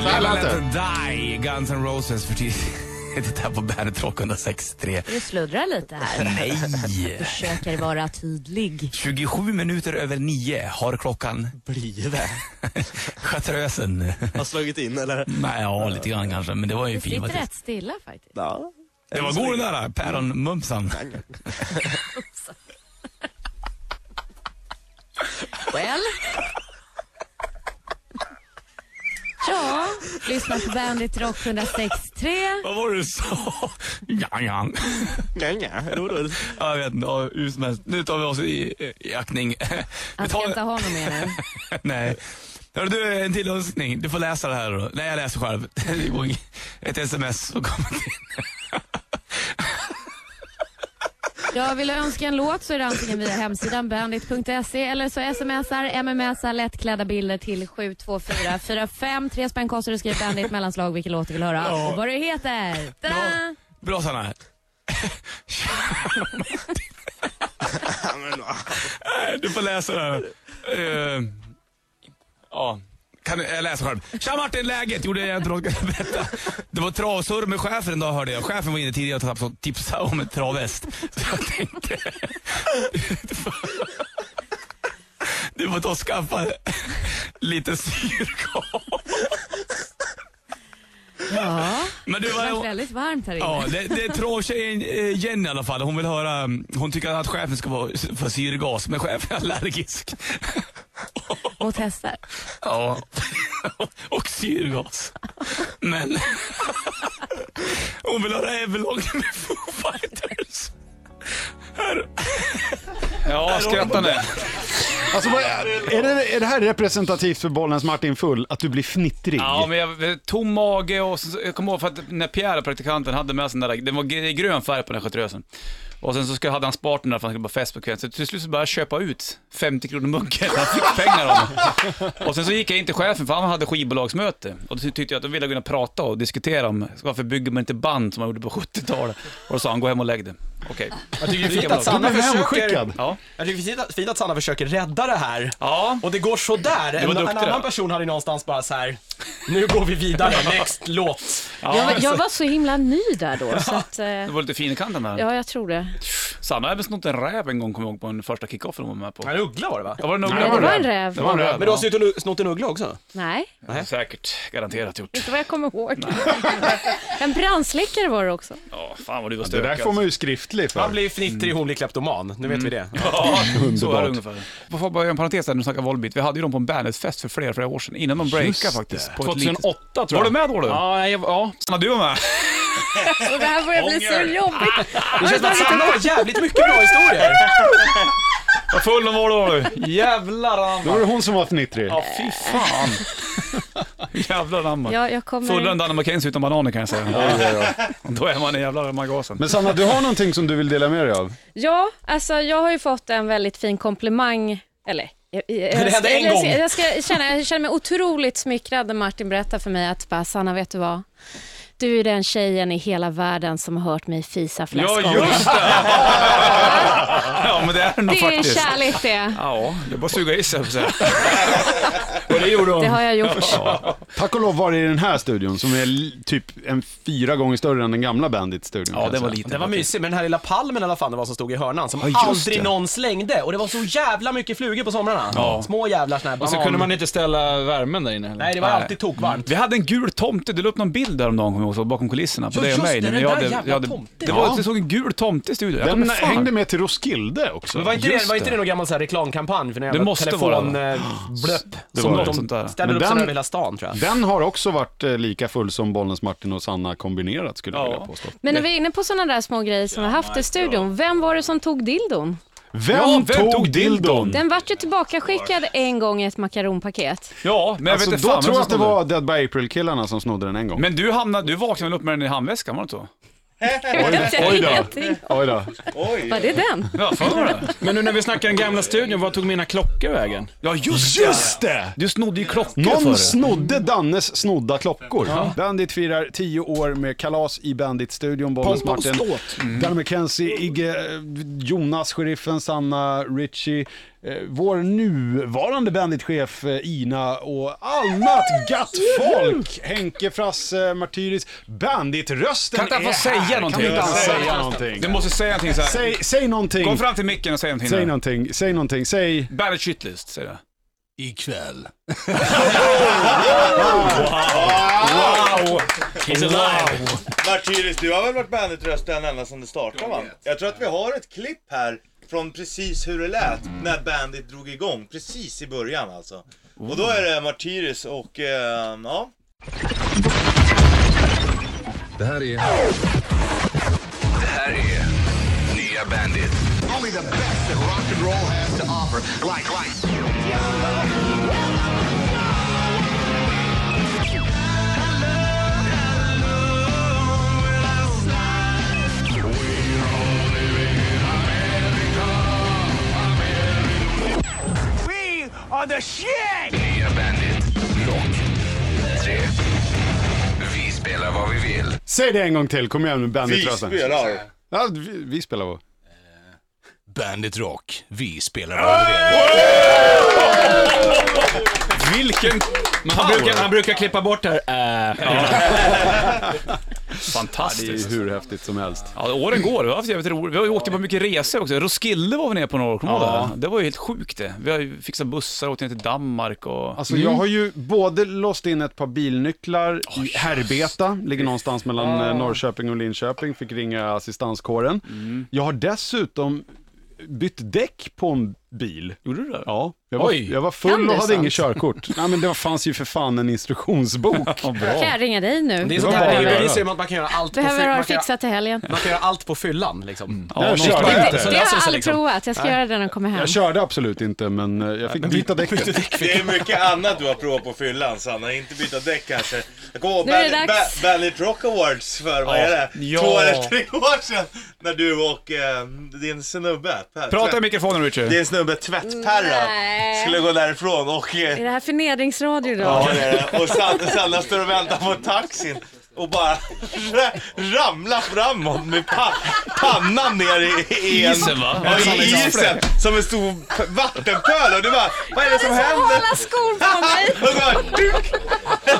S7: Live and Let Her Die, Guns N' Roses för tidigt här på Bandet Rock 163.
S13: Du sluddrar lite här.
S7: Nej.
S13: Försöker vara tydlig.
S7: 27 minuter över nio har klockan blivit. Chartreusen.
S14: Har slagit in eller?
S7: Nej, ja, lite grann kanske, men det var ju
S13: Du
S7: fint.
S13: sitter rätt stilla faktiskt.
S14: Ja. Mm.
S7: Det var god den där äh, päronmumsan.
S13: Well. Ja, lyssna på Bandit Rock 163.
S7: Vad var det du sa? Ja, ja.
S14: Ja, ja. Rudolf.
S7: Ja, Jag vet inte, ja, hur som helst. Nu tar vi oss i, i aktning. Vi
S13: Han
S7: tar-
S13: ska inte ha något mer nu.
S7: Nej. Hörru du, en till önskning. Du får läsa det här då. Nej, jag läser själv. Det går ing- Ett sms som kommer in.
S13: Ja, vill du önska en låt så är det antingen via hemsidan bandit.se eller så smsar, mmsar lättklädda bilder till 72445. Tre spänn kostar det. Skriv bandit mellanslag vilken låt du vill höra
S7: Ja.
S13: och vad du heter. Ta-da!
S7: Bra Sanna. Nej, du får läsa det här. Eh, Ja. Kan, jag läser själv. Tja Martin, läget? Gjorde jag inte något berätta. Det var travsurr med chefen en dag hörde jag. Chefen var inne tidigare och tipsade om en travhäst. Så jag tänkte... Du får, du får ta och skaffa lite syrgas.
S13: Ja,
S7: Men du,
S13: det
S7: vad-
S13: var väldigt varmt här inne.
S7: Ja, det, det är travtjejen eh, Jenny i alla fall. Hon vill höra, mm, hon tycker att chefen ska få, få syrgas, men chefen är allergisk.
S13: Mot hästar.
S7: Ja. Och syrgas. Men hon vill höra Everlong med Foo Fighters. Här.
S1: Ja, skrattar ni?
S12: Alltså, vad är, är, det, är det här representativt för bollens Martin Full, att du blir fnittrig?
S1: Ja, men jag, tom mage och så, jag kommer ihåg för att när Pierre, praktikanten, hade med sig den där, den var gr- grön färg på den här chartreusen. Och sen så ska, hade han sparat den där för han skulle på fest på kvällen. Så till slut så började jag köpa ut 50 kronor munken. Han fick pengar av mig. Och sen så gick jag in till chefen för han hade skivbolagsmöte. Och då tyckte jag att de ville kunna prata och diskutera om varför bygger man inte band som man gjorde på 70-talet. Och då sa han, gå hem och lägg dig. Okej.
S3: Jag tycker det är
S1: Gick
S3: fint
S1: jag
S3: att
S1: bara,
S3: Sanna
S1: "Du blev
S3: försöker...
S1: hemskickad." Ja.
S3: Jag tycker det är fint att- fint att Sanna försöker rädda det här.
S1: Ja.
S3: Och det går sådär.
S1: Du var
S3: En, en
S1: duktig där.
S3: annan person hade ju någonstans bara så här. nu går vi vidare, next låt.
S4: jag, var- jag var så himla ny där då, så att, eh,
S1: Du var lite fin i kanten där.
S4: ja, jag tror det.
S1: Sanna har även snott en räv en gång, kommer jag ihåg, på den första kickoffen hon var med på.
S3: En uggla var det va?
S1: Ja, var det en uggla?
S4: Nej, det var en räv.
S1: Det var en räv.
S3: Men du har suttit och snott en uggla också?
S4: Nej,
S1: Ja, säkert, garanterat gjort.
S4: inte vad jag kommer ihåg. en brandsläckare var det också.
S1: Ja, fan vad du var
S12: Det
S1: stökig. alltså.
S12: där får man ju skriftlig för.
S3: Han blir fnittrig, hon blir kleptoman. Nu vet vi det.
S1: Mm. Ja, så är
S12: Underbart.
S1: det ungefär. Jag får bara göra en parentes där när du snackar Volbeat. Vi hade ju dem på en Bandit-fest för flera, flera år sedan, innan de breakade
S12: Just
S1: faktiskt.
S12: det.
S1: På ett
S9: 2008
S1: litet-
S9: tror jag.
S1: Var du med då? Du?
S9: Ja, jag, ja.
S1: Sanna, du var med.
S4: Och det här börjar bli så
S1: Ånger.
S4: jobbigt.
S3: Det känns som att Sanna har jävligt mycket bra historier.
S7: Ah,
S1: Vad full hon var då. du.
S12: Då
S1: Jävlar
S12: var
S1: anamma.
S12: det hon som var fnittrig.
S1: Ja, fy fan. Jävlar anamma.
S4: Ja, jag kommer...
S1: Fullare än Danne McKenzie utan bananer kan jag säga.
S12: Ja, ja, ja.
S1: Då är man en jävla ramma i gasen.
S12: Men Sanna, du har någonting som du vill dela med dig av?
S4: Ja, alltså jag har ju fått en väldigt fin komplimang, eller jag, jag, jag,
S3: Det hände en
S4: eller jag,
S3: gång.
S4: ska- jag, ska känna, jag känner mig otroligt smickrad när Martin berättar för mig att bara, Sanna, vet du vad? Du är den tjejen i hela världen som har hört mig fisa flest
S1: Ja,
S4: gånger.
S1: just det! Ja, men det är den nog
S4: Det är
S1: faktiskt.
S4: kärlek det.
S1: Ja, det är bara att suga i sig, höll jag på att säga. Och det gjorde hon.
S4: Det har jag gjort.
S12: Tack och lov var det i den här studion som är l- typ en fyra gånger större än den gamla Bandit-studion.
S1: Ja,
S12: kan jag
S1: den var
S12: säga.
S1: liten.
S3: Den var mysig, men den här lilla palmen eller vad fan det var som stod i hörnan som
S12: Ja, just
S3: aldrig
S12: det.
S3: någon slängde. Och det var så jävla mycket flugor på somrarna.
S1: Ja.
S3: Små jävlar såna här
S9: Och
S3: banan...
S9: så kunde man inte ställa värmen där inne heller.
S3: Nej, det var
S1: Nej.
S3: alltid tokvarmt.
S1: Vi hade en gul tomte, du la upp någon bild häromdagen kommer jag ihåg, så bakom kulisserna på
S3: Ja,
S1: dig och
S3: just
S1: mig.
S3: det, den
S1: jag
S3: där
S1: hade-
S3: jävla
S1: jag hade-
S3: tomten.
S1: Det var
S12: Ja.
S1: det såg en gul tomte i studion. Jag
S12: Den
S1: kommer fan-
S12: hängde med till Roskilde också.
S3: Men var inte, det,
S1: Just
S3: var inte
S1: det.
S3: det någon gammal så här reklamkampanj för någon
S1: Det
S3: jävla
S1: måste
S3: telefon...
S1: vara
S3: eh, Blöpp.
S1: Det
S3: Som
S1: var
S3: de
S1: något sånt där.
S3: ställer
S12: Men
S3: upp den...
S12: den-
S3: över hela stan tror jag.
S12: Den har också varit eh, lika full som Bollnäs Martin och Sanna kombinerat skulle jag
S1: Ja.
S12: vilja påstå.
S4: Men när vi är inne på sådana där små grejer som vi har haft i studion, vem var det som tog dildon?
S12: Vem,
S1: Ja,
S12: tog, dildon?
S4: Den vart ju tillbakaskickad en gång i ett makaronpaket.
S1: Ja, men jag
S12: Alltså,
S1: vet inte
S12: då
S1: fan
S12: tror jag
S1: vem
S12: att det
S1: som snodde
S12: var Dead by April-killarna som snodde den en
S1: den.
S12: gång.
S1: Men du, hamnade, du vaknade väl upp med den i handväskan, var det inte så?
S4: Jag vet
S12: Oj då.
S4: ingenting.
S12: Oj då.
S4: Var det den?
S1: Ja, för mig det.
S9: Men nu när vi snackar den gamla studion, vad tog mina klockor vägen?
S1: Ja, just det!
S12: Just det!
S1: Du snodde ju klockor
S12: Någon
S1: för det.
S12: snodde Dannes snodda klockor. Bandit firar 10 år med kalas i Bandit-studion. Bollnäs
S9: Pompa och
S12: Martin,
S9: ståt.
S1: Mm.
S12: Danne McKenzie, Igge, eh, Jonas, Sheriffen, Sanna, Richie, eh, vår nuvarande Bandit-chef eh, Ina och annat gatt folk. Henke, Frasse, Martyris. Bandit-rösten
S1: Kan inte han
S12: är
S1: få säga
S12: här.
S1: någonting?
S12: Kan vi inte han
S1: Säga
S12: säga någonting?
S1: Du måste säga någonting så här.
S12: Säg, säg någonting.
S1: Kom fram till micken och säg någonting.
S12: Säg
S1: där.
S12: någonting, säg någonting, säg...
S1: Bandit shitlist, säger jag.
S11: Ikväll.
S1: Wow!
S9: He's alive!
S6: Martyris, du har väl varit Bandit-rösten ända sedan det startade va? Jag tror att vi har ett klipp här från precis hur det lät när Bandit drog igång, precis i början alltså. Och då är det Martyris och, eh, ja.
S11: Det här är... Det här är Nya Bandit. Only the best that rock and roll has to offer. Like, like... We are the shit! Nya Bandit. Rock. 3. Vi spelar vad vi vill.
S12: Säg det en gång till, kom igen med
S6: Vi
S12: Bandit-rösten.
S6: spelar.
S12: Ja, vi, vi spelar vår.
S11: Bandit Rock. Vi spelar vad vi vill.
S1: Vilken
S9: Men han brukar, han brukar klippa bort det här. Äh,
S12: Det
S1: fantastisk...
S12: är hur häftigt som helst.
S1: Ja, åren går. Vi har haft jävligt roligt. Vi har ju åkt på mycket resor också. Roskilde var vi nere på några år, kommer du ihåg det? Det var ju helt sjukt det. Vi har ju fixat bussar, åkt ner till Danmark och...
S12: Alltså jag har ju både låst in ett par bilnycklar i Herbeta, ligger någonstans mellan eh, Norrköping och Linköping, fick ringa assistanskåren. Jag har dessutom bytt däck på en bil. Gjorde du det? Ja. Jag var,
S1: Oj.
S12: jag var full
S1: Kan du
S12: och hade
S1: sånt?
S12: inget körkort. Nej men det fanns ju för fan en instruktionsbok.
S4: Kan jag ringa dig nu?
S12: Det är
S3: Det
S12: sånt
S3: var
S12: här
S3: bara
S12: behöver-
S3: bevis om att man kan göra allt på
S4: Behöver
S3: fy-
S4: ha det
S3: man kan göra-
S4: fixat till helgen.
S3: Man kan göra allt på fyllan liksom.
S12: Ja, jag körde
S3: någonstans
S12: inte.
S3: där,
S12: Det
S3: så
S4: Det har
S3: löser
S4: jag
S3: sig,
S4: aldrig
S3: liksom.
S4: provat. Jag ska
S12: Nej.
S4: göra det när jag kommer hem.
S12: Jag körde absolut inte, men eh, jag fick byta däck.
S6: Det är mycket annat du har provat på fyllan Sanna, inte byta däck kanske. Jag kommer ihåg
S4: Nu är det
S6: Bandit,
S4: dags.
S6: ba- Bandit Rock Awards för, vad
S1: Ja.
S6: är det?
S1: Ja.
S6: Två eller tre år sedan. När du och eh, din snubbe, Per,
S1: Mm. Prata i
S6: Tvätt-
S1: mikrofonen Richard.
S6: din snubbe Tvättperra
S4: Nej.
S6: skulle gå därifrån och... eh,
S4: Är det här förnedringsradio då?
S6: Ja, det är det. Och Sanna, Sanna står och väntar på taxin och bara ra- ramlar framåt med pa- pannan ner i, i en,
S1: Isen, va?
S6: Ja,
S1: Ja,
S6: i
S1: liksom.
S6: isen. Som en stor p- vattenpöl. Och du bara, vad är det som
S4: Jag hade så
S6: händer? Oh
S4: hala skor på mig.
S6: Och bara,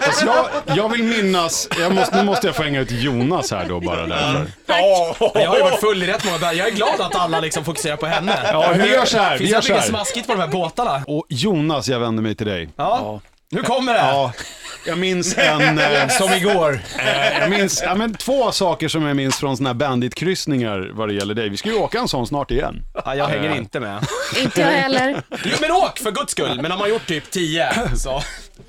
S12: Alltså, jag, jag vill minnas, jag måste, nu måste jag få hänga ut Jonas här då bara därför.
S3: Jag har ju varit full i rätt många bär. Jag är glad att alla liksom fokuserar på henne.
S12: Ja, vi gör så här,
S3: Finns
S12: vi gör
S3: det
S12: så
S3: mycket
S12: här.
S3: smaskigt på de här båtarna?
S12: Och Jonas, jag vänder mig till dig.
S3: Ja. Nu kommer det!
S12: Ja, jag minns en... eh,
S3: Som igår.
S12: Eh, Jag minns, ja, men två saker som jag minns från såna här banditkryssningar vad det gäller dig. Vi ska ju åka en sån snart igen.
S3: Ja, jag hänger
S12: Eh.
S3: inte med.
S4: Inte jag heller.
S3: Jo men åk för guds skull! Men har man gjort typ 10 så...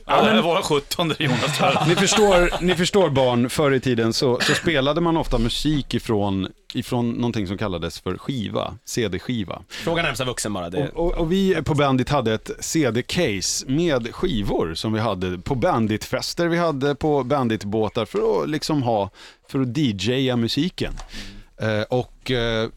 S7: Ja, det var 17 Jonas tror jag.
S12: Ni förstår, ni förstår barn, förr i tiden så, så spelade man ofta musik ifrån, ifrån någonting som kallades för skiva, CD-skiva.
S3: Fråga närmsta vuxen bara. Det...
S12: Och, och, och vi på Bandit hade ett CD-case med skivor som vi hade på Bandit-fester, vi hade på Bandit-båtar för att liksom ha, för att DJa musiken.
S3: Mm.
S12: Eh, och eh,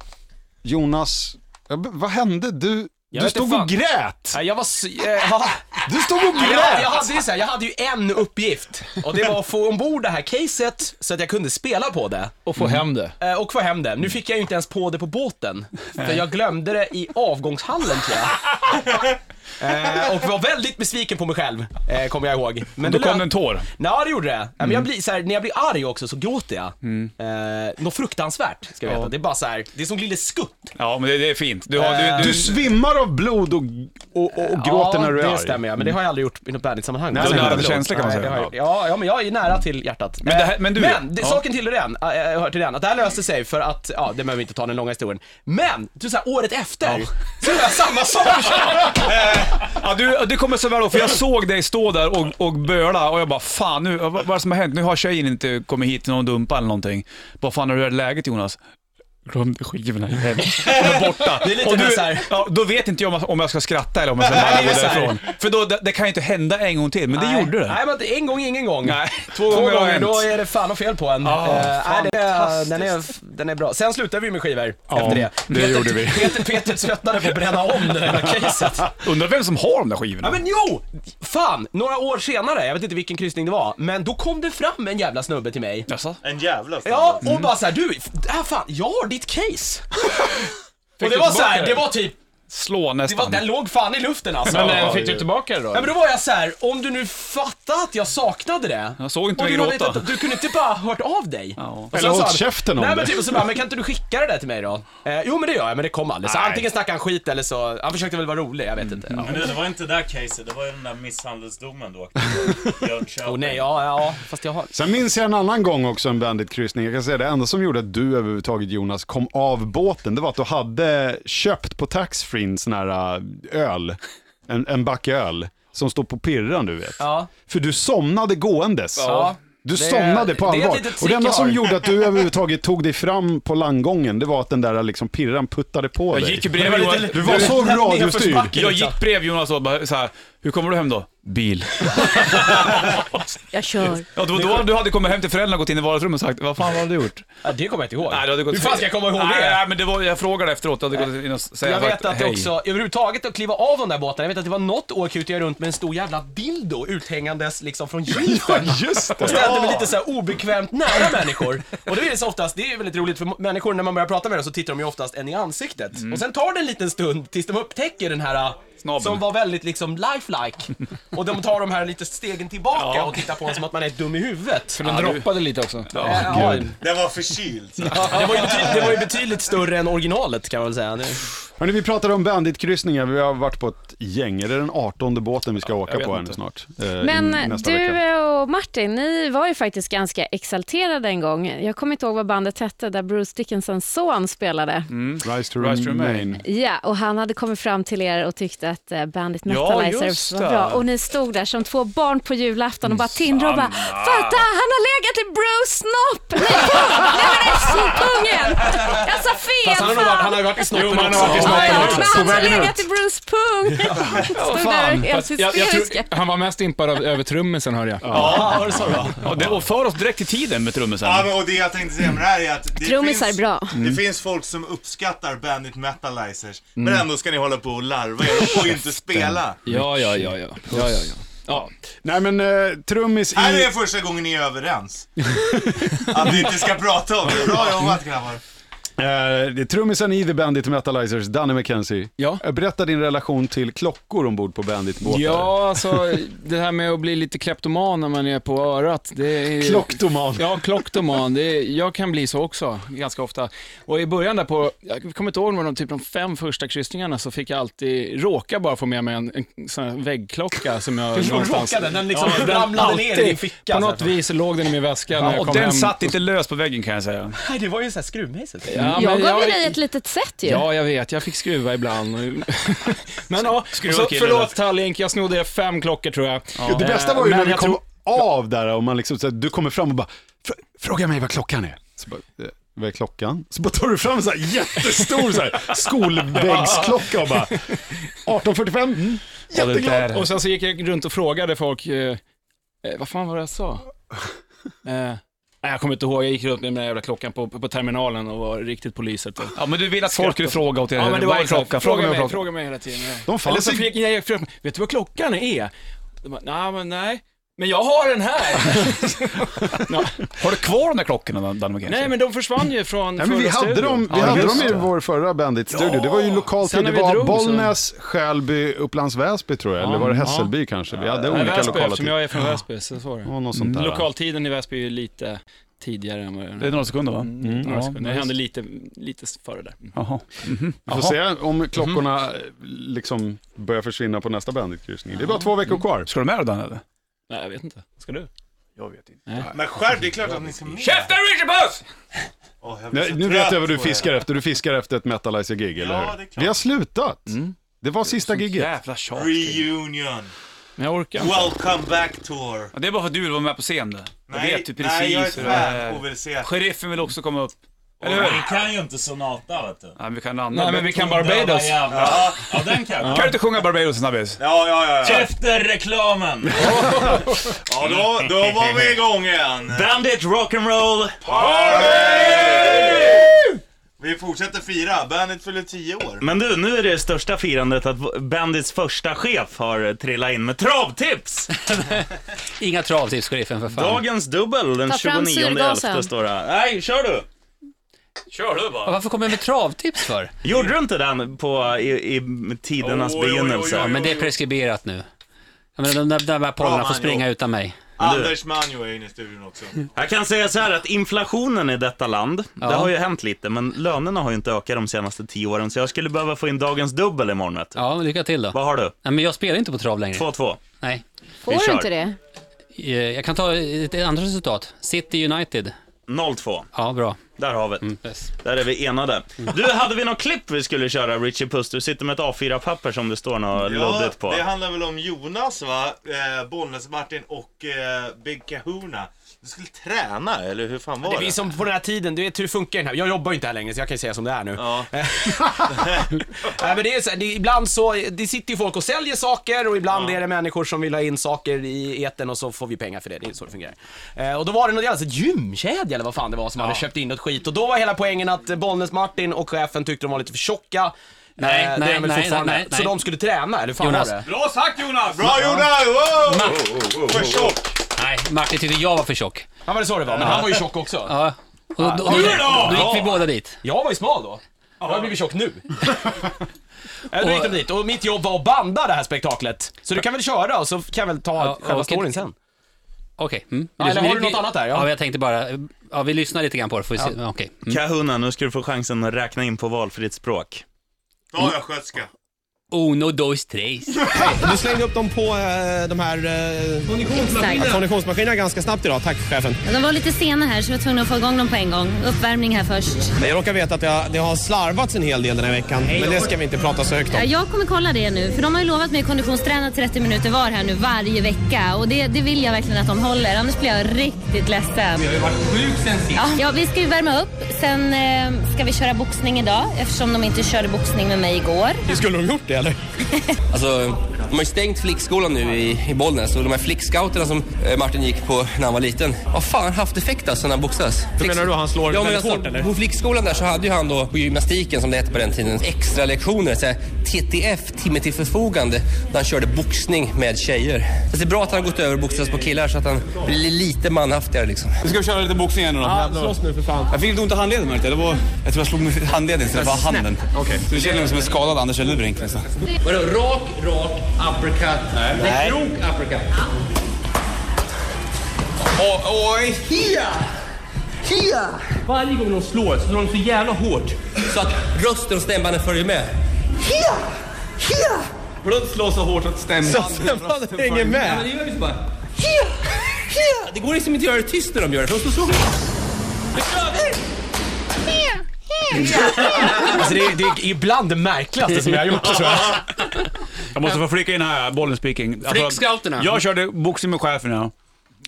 S12: Jonas, ja, b- vad hände? Du,
S3: Jag
S12: du
S3: vet
S12: stod
S3: inte
S12: och
S3: fan.
S12: grät!
S3: Jag var... s- eh, ja.
S12: Du stod och
S3: Jag, jag,
S12: grät!
S3: hade ju så här, jag hade ju en uppgift och det var att få ombord det här caset så att jag kunde spela på det.
S9: Och få hem det.
S3: Eh, Och få hem det. Nu fick jag ju inte ens på det på båten, för jag glömde det i avgångshallen tror jag. Eh, Och var väldigt besviken på mig själv, eh, kommer jag ihåg. Men
S7: Då
S3: det lö-
S7: kom det en tår. Mm.
S3: Ja, det gjorde det. Ja, Men jag blir, så här, när jag blir arg också så gråter jag. Eh, något fruktansvärt, ska jag veta. Det är bara så här, det är som Lille Skutt. Eh.
S7: Ja, men det, det är fint. Du, har, du,
S12: Du
S7: du,
S12: svimmar av blod och, och, och, och gråter när du är
S3: Ja,
S12: arg.
S3: det stämmer ja. Men det har jag aldrig gjort i något bandit-sammanhang.
S12: Nej,
S1: Mm.
S3: Så
S12: nej, nej,
S3: jag har
S12: det
S3: blod.
S7: känsla kan man
S3: Nej,
S7: säga.
S3: det har jag- Ja, ja, men jag är nära till hjärtat.
S7: Men det här- men du-
S3: men det,
S7: ja.
S3: saken till den, äh, äh, hör till den, att det här löste sig för att, ja, det behöver vi inte ta den långa historien. Men, du så här, året efter, så gör jag samma sak!
S7: ja, du, det kommer så väl ihåg, för jag såg dig stå där och, och böla och jag bara fan, nu, vad, vad är det som har hänt? Nu har tjejen inte kommit hit, någon dumpa eller någonting. Vad fan har du i läget Jonas? Glömde skivorna hem. De är borta.
S3: Det är lite
S7: och
S3: den
S7: du,
S3: så här-
S7: ja, då vet inte jag om jag- om jag ska skratta eller om jag ska bara
S3: Nej,
S7: gå
S3: det är så här.
S7: därifrån. För då, det, det kan ju inte hända en gång till, men det gjorde det.
S3: Nej, men inte en gång ingen gång.
S7: Nej,
S3: Två
S7: gånger
S3: gånger,
S7: har hänt. Ah,
S3: då är det fan och fel på en.
S7: Ja,
S3: Eh, nej, det är- den, är, den är bra. Sen slutade vi med skivor efter det.
S12: det gjorde vi.
S3: Peter, Peter tröttnade på att bränna om det där caset.
S7: Undrar vem som har de där skivorna?
S3: Ja men jo! Fan, några år senare, jag vet inte vilken kryssning det var, men då kom det fram en jävla snubbe till mig.
S7: Jaså?
S6: En jävla snubbe.
S3: Ja, och bara såhär, du, f- äh, fan, jag har ditt case! och det
S9: du
S3: var
S9: tillbaka
S3: såhär,
S9: det?
S3: det var typ,
S7: Slå
S3: det
S7: nästan.
S3: var, den låg fan i luften alltså.
S9: Men
S3: ja,
S9: eh, fick du tillbaka det då?
S3: men då var jag så här: om du nu fattade att jag saknade det.
S7: Jag såg inte
S3: och
S7: mig
S3: du, har
S7: gråta.
S3: vetat- du kunde inte bara hört av dig. Och sen
S12: Eller
S3: sa
S12: hållit
S3: han,
S12: käften om
S3: Nej men
S12: det."
S3: typ, och så bara, men kan inte du skicka det där till mig då? Eh, jo men det gör jag, men det kom aldrig. Så antingen snackade han skit eller så, han försökte väl vara rolig, jag vet inte. Ja.
S2: Men du, det var inte det där caset, det var ju den där misshandelsdomen du åkte på i Jönköping.
S3: Oh, nej, ja, ja, fast jag har...
S12: Sen minns jag en annan gång också en Bandit-kryssning. Jag kan säga det enda som gjorde att du överhuvudtaget Jonas kom av båten, det var att du hade köpt på taxfree en sån här äh, öl, en, en back öl, som står på pirran du vet.
S3: Ja.
S12: För du somnade gåendes.
S3: Ja.
S12: Du
S3: Det-
S12: somnade på
S3: det är ett
S12: allvar.
S3: litet trick
S12: Och det enda
S3: jag
S12: som
S3: har.
S12: gjorde att du överhuvudtaget tog dig fram på langgången, det var att den där liksom pirran puttade på
S7: Jag
S12: dig.
S7: gick bredvid Jonas.
S12: Du var så radiostyrd.
S7: Jag gick bredvid Jonas och bara så här, hur kommer du hem då? Bil.
S4: Jag kör.
S7: Ja, det var då du hade kommit hem till föräldrarna, gått in i vardagsrummet och sagt vad fan har du gjort?
S3: Ja, det kommer jag inte ihåg.
S7: Nej, du hade gått
S3: Hur fan ska jag komma ihåg
S7: nej,
S3: det?
S7: Nej, men det var, jag frågade efteråt, jag hade gått in och säga
S3: jag vet
S7: sagt,
S3: att det också, överhuvudtaget att kliva av de där båtarna, jag vet att det var något år kutade jag runt med en stor jävla dildo uthängandes liksom från gylfen.
S12: Just
S3: Och
S12: det.
S3: ställde mig lite så här obekvämt nära människor. Och då är det så oftast, det är väldigt roligt för människor när man börjar prata med dem så tittar de ju oftast en i ansiktet. Och sen tar det en liten stund tills de upptäcker den här
S7: Mm.
S3: äh,
S7: Snabben.
S3: som var väldigt liksom lifelike. Och de tar de här lite stegen tillbaka och tittar på en som att man är dum i huvudet.
S9: För den droppade lite också.
S3: Ja,
S6: Den var förkyld.
S3: ja, det, var ju betydligt, det var ju betydligt större än originalet kan man väl säga. Det-
S12: Hörrni, vi pratade om bandit-kryssningar. Vi har varit på ett gäng. Är det den 18 båten vi ska åka
S4: vet
S12: på
S4: inte.
S12: än snart? Eh, i
S6: Mm,
S4: Men
S12: nästa
S4: du
S12: vecka.
S4: och Martin, ni var ju faktiskt ganska exalterade en gång. Jag kommer inte ihåg vad bandet hette där Bruce Dickinsons son spelade.
S12: Rise to
S1: Rise to
S12: remain.
S4: Ja, och han hade kommit fram till er och tyckte att eh, bandet
S12: Ja,
S4: Metalizers
S12: just
S4: var
S12: det.
S4: bra. Och ni stod där som två barn på julafton och bara tindrade och bara
S11: Sanna.
S4: “Fatta, han har legat i Bruce snopp! Nej, fan! Nej, men pungen! Jag sa fel!
S3: Fast han har nog varit-
S4: fan!"
S3: han har ju varit i snoppen Jo, men han har
S4: Ja,
S3: också. varit i snoppen
S4: ja,
S3: också.
S4: Men
S3: På
S4: han har
S3: vägen ut.
S4: legat i Bruce pung!
S9: Vad
S4: Stod där
S9: fan.
S4: helt
S9: Fast jag, jag
S4: hysteriska.
S9: tror, han var mest impad av, över trummisen hörde jag.
S1: Ja, var det så då? Ja, det, och för oss direkt till tiden med trummisen.
S6: Ja, men, och det jag tänkte säga med det här är att det
S4: Trummisar
S6: finns,
S4: är bra.
S6: Det
S4: Mm.
S6: finns folk som uppskattar Bandit Metalizers, men
S9: Mm.
S6: ändå ska ni hålla på och larva er och inte spela.
S9: Ja, ja, ja, ja. ja, ja, ja.
S12: Ja. Nej men eh, trummis i...
S6: Här är första gången ni är överens. att ni inte ska prata om det. Bra jobbat grabbar.
S12: Eh, det är trummisen i The Bandit Metalizers, Danny McKenzie. Ja. Berätta din relation till klockor ombord på Bandit-båtar.
S9: Ja, alltså det här med att bli lite kleptoman när man är på örat. Det är...
S12: Kloktoman.
S9: Ja, kloktoman. Det är... Jag kan bli så också, ganska ofta. Och i början där på, jag kommer inte ihåg men de typ de fem första kryssningarna så fick jag alltid råka bara få med mig en, en sån här väggklocka som jag
S3: Du
S9: någonstans...
S3: råkade? Den liksom ramlade ner i din
S9: alltid.
S3: ficka,
S9: På
S3: så här.
S9: något vis låg den i min väska när
S1: Ja,
S9: jag
S1: och
S9: kom
S1: den
S9: hem.
S1: satt inte lös på väggen kan jag säga.
S3: Nej, det var ju såhär skruvmejsel.
S9: Ja,
S4: jag
S9: men
S4: gav ju
S9: jag-
S4: dig ett litet set ju.
S9: Ja, jag vet. Jag fick skruva ibland. Men ja, så,
S12: Skruva killen.
S9: förlåt Tallink, jag snodde fem klockor tror jag.
S12: Ja. Det bästa var ju när
S9: Eh, men
S12: du
S9: jag
S12: kom
S9: tror-
S12: av där och man liksom, så här, du kommer fram och bara, "Fr- fråga mig vad klockan är. Så bara, "Eh, vad är klockan? Så bara tar du fram en så här jättestor så här, skolväggsklocka och bara, 18.45, mm. jätteglad.
S9: Och sen så gick jag runt och frågade folk, eh, eh, vad fan var det jag sa? Eh, nej, jag kommer inte ihåg, jag gick runt med den där jävla klockan på, på terminalen och var riktigt poliset.
S1: Ja, men du ville att folk skulle fråga åt er,
S9: ja, men det var
S1: vad är
S9: exakt.
S1: klockan?
S9: Fråga,
S1: Fråga mig
S9: mig,
S1: vad klockan-
S9: fråga mig hela tiden. ja.
S1: De fanns
S9: Eller så
S1: i-
S9: fick jag, jag, frågade, vet du vad klockan är? De bara, nej, men nej. Men jag har den här!
S1: Har du kvar de där klockorna, Danne McKenzie?
S9: Nej men de försvann ju från
S12: Nej, men vi
S9: förra
S12: hade
S9: studion.
S12: dem, vi
S9: Ja,
S12: hade
S9: just
S12: dem i
S9: det.
S12: vår förra Bandit-studio. Det var ju lokalt,
S9: Sen
S12: det
S9: när vi
S12: var
S9: drog så-
S12: Bollnäs, Skälby, Upplands Väsby tror jag,
S9: Ja,
S12: eller var det
S9: ja.
S12: Hässelby kanske? Vi hade
S9: Nej,
S12: olika
S9: Väsby,
S12: lokala
S9: eftersom
S12: tid-
S9: jag är från
S15: typ.
S9: Väsby, så så var det.
S12: Ja, något
S15: Mm.
S12: sånt där, va?
S9: Lokaltiden i Väsby är ju lite tidigare än vad
S1: Det är några sekunder, va?
S9: Mm,
S1: Mm,
S9: några
S1: ja,
S9: sekunder. Det
S1: nice.
S9: hände lite, lite före där.
S1: Jaha.
S9: Mhm.
S12: Vi får se om klockorna eh, liksom börjar försvinna på nästa Bandit-kryssning. Det är bara två veckor kvar.
S1: Ska du med den eller?
S9: Nej, jag vet inte. Ska du?
S1: Jag vet inte.
S6: Men skärp, det är klart att ni ska med.
S11: Käften,
S6: Richard Puss! Oh, jag blir
S12: Nu,
S6: så
S12: nu vet
S6: trött
S12: jag vad du
S6: på er.
S12: fiskar efter. Du fiskar efter ett Metalizer-gig, eller hur? Vi har slutat.
S9: Mm.
S12: Det var sista giget.
S1: Jävla tjat.
S6: Reunion.
S9: Men jag orkar
S1: inte.
S6: Welcome back tour.
S1: Ja, det är bara för att du vill vara med på scen det. Jag
S6: Nej,
S7: typ
S1: vet ju precis
S6: nej, jag är ett
S1: hur det är.
S6: fan och vill se.
S1: Sheriffen vill också komma upp. Eller hur?
S14: Vi kan ju inte sonata vet du.
S1: Nej, men vi kan andra.
S14: Nej, men vi kan Barbados.
S1: Ja.
S14: Ja, den kan
S1: Kan
S14: vi.
S1: du inte sjunga Barbados en snabbis?
S6: Ja, ja, ja.
S14: Efter reklamen!
S6: Ja, då, då var vi igång igen.
S14: Bandit rock'n'roll!
S6: Vi fortsätter fira. Bandet fyller 10 år.
S2: Men du, nu är det största firandet att bandits första chef har trillat in med travtips!
S16: Inga travtips, sheriffen, för fan.
S2: Dagens dubbel den
S16: Ta fram
S2: 29.11
S16: syrgasen.
S2: står det. här. Nej, kör du!
S1: Kör du bara.
S16: Varför kommer jag med travtips för?
S2: Gjorde du inte den på, i, i tidernas begynnelse?
S16: Ja, men det är preskriberat nu. Jag menar, de där, de där pollarna
S2: Bra,
S16: får
S2: man,
S16: springa
S2: jo.
S16: utan mig.
S6: Anders Manjo är inne i studion också.
S2: Jag kan säga så här att inflationen i detta land, det har ju hänt lite, men lönerna har ju inte ökat de senaste tio åren, så jag skulle behöva få in dagens dubbel imorgon vet du.
S16: Ja, men lycka till då.
S2: Vad har du?
S16: Nej, men jag spelar inte på trav längre.
S2: 2-2.
S16: Nej.
S4: Får du inte det?
S16: Eh, Jag kan ta ett ett andra resultat. City United.
S2: 0-2.
S16: Ja, bra. Mm,
S2: Där har vi det. Där är vi enade. Du, hade vi något klipp vi skulle köra, Richie Puss? Du sitter med ett A4-papper som det står något
S6: Ja,
S2: loddigt på.
S6: det handlar väl om Jonas va? Eh, Bollnäs-Martin och eh, Big Kahuna. Du skulle träna eller hur fan var det?
S3: Det är som på den här tiden, du vet hur det funkar i den här. Jag jobbar ju inte här längre så jag kan ju säga som det är nu. Nej men det är så här, det, är ibland så, det sitter ju folk och säljer saker och ibland är det människor som vill ha in saker i etern och så får vi pengar för det. Det är så det fungerar. Eh, och då var det något jävla så här gymkedja eller vad fan det var som hade köpt in något skit och då var hela poängen att eh, Bollnäs-Martin och chefen tyckte de var lite för tjocka. Eh,
S16: Nej,
S3: det är
S16: nej,
S3: de väl
S16: nej,
S3: fortfarande.
S16: nej, nej.
S3: Så de skulle träna, eller hur fan
S16: Jonas.
S3: var det?
S7: Bra sagt Jonas!
S6: Bra Jonas! Wow!
S16: Ma-
S2: Oh,
S6: För tjock!
S16: Nej, Martin tyckte jag var för tjock.
S3: Ja men det så det var, men han var ju tjock också.
S16: Ja. Och då, då, då,
S3: Hur då?
S16: gick vi båda dit.
S3: Jag var ju smal då. Jag har blivit tjock nu. Ja, då gick de dit och mitt jobb var att banda det här spektaklet. Så du kan väl köra och så kan jag väl ta själva
S16: och-
S3: storyn sen.
S16: Okej. Mm.
S3: Ja, eller har du något annat där? Ja.
S16: Ja. jag tänkte bara... Ja, vi lyssnar lite grann på det, får vi se. Ja. Okej. Mm.
S2: Kahuna, nu ska du få chansen att räkna in på valfritt språk.
S6: Ja, jag skötska.
S16: Uno, dos, tres.
S17: Du slängde upp dem på eh, de här... Eh,
S13: Konditionsmaskinerna.
S17: Konditionsmaskinerna ganska snabbt idag. Tack chefen.
S13: De var lite sena här så jag var tvungen att få igång dem på en gång. Uppvärmning här först.
S17: Jag råkar veta att jag, det har slarvats en hel del den här veckan, men det ska vi inte prata så högt
S13: Ja,
S17: om.
S13: Jag kommer kolla det nu, för de har ju lovat mig att konditionsträna 30 minuter var här nu varje vecka. Och det, det vill jag verkligen att de håller, annars blir jag riktigt ledsen.
S10: sjuk sen
S13: Ja, ja, vi ska ju värma upp. Sen eh, ska vi köra boxning idag eftersom de inte körde boxning med mig igår.
S17: Skulle de gjort det eller?
S18: Alltså, de har ju stängt flickskolan nu i, i Bollnäs och de här flickscouterna som eh, Martin gick på när han var liten har fan haft effekt alltså när han boxas.
S17: Hur menar du? Han slår
S18: Ja, men
S17: väldigt
S18: alltså,
S17: hårt, eller?
S18: På flickskolan där så hade ju han då på gymnastiken som det hette på den tiden extra lektioner, så här, TTF, timme till förfogande, när han körde boxning med tjejer. Så det är bra att han har gått över och boxats på killar så att han blir lite manhaftigare liksom.
S19: Vi ska köra lite boxning igen nu då.
S18: Ja,
S17: Ah, slåss nu för fan.
S19: Jag fick lite ont i handleden märkte jag. Det var, jag tror jag slog mig i handleden istället för
S17: Snäpp.
S19: handen.
S17: Okej.
S19: Så det känner mig som en skadad Anders Eldebrink nästan.
S18: Vadå, rak, rak uppercut? Nej.
S19: Nej.
S18: Krok uppercut?
S19: Oj!
S18: Hia! Hia! Varje gång de slår så slår de så jävla hårt så att rösten och stämbanden följer med. Hia! Hia! Vadå slå så hårt att
S17: stämbanden- Så stämbanden hänger med?
S18: Ja, men det gör ju så bara. Hia! Hia! Det går liksom inte att göra det tyst när de gör det. De står så... Nu kör vi!
S3: Alltså det är, det är ibland det märkligaste som jag har gjort tror jag.
S1: Jag måste få flika in här, bollen speaking. Alltså,
S16: Flickscouterna.
S1: Jag körde boxning med chefen ja.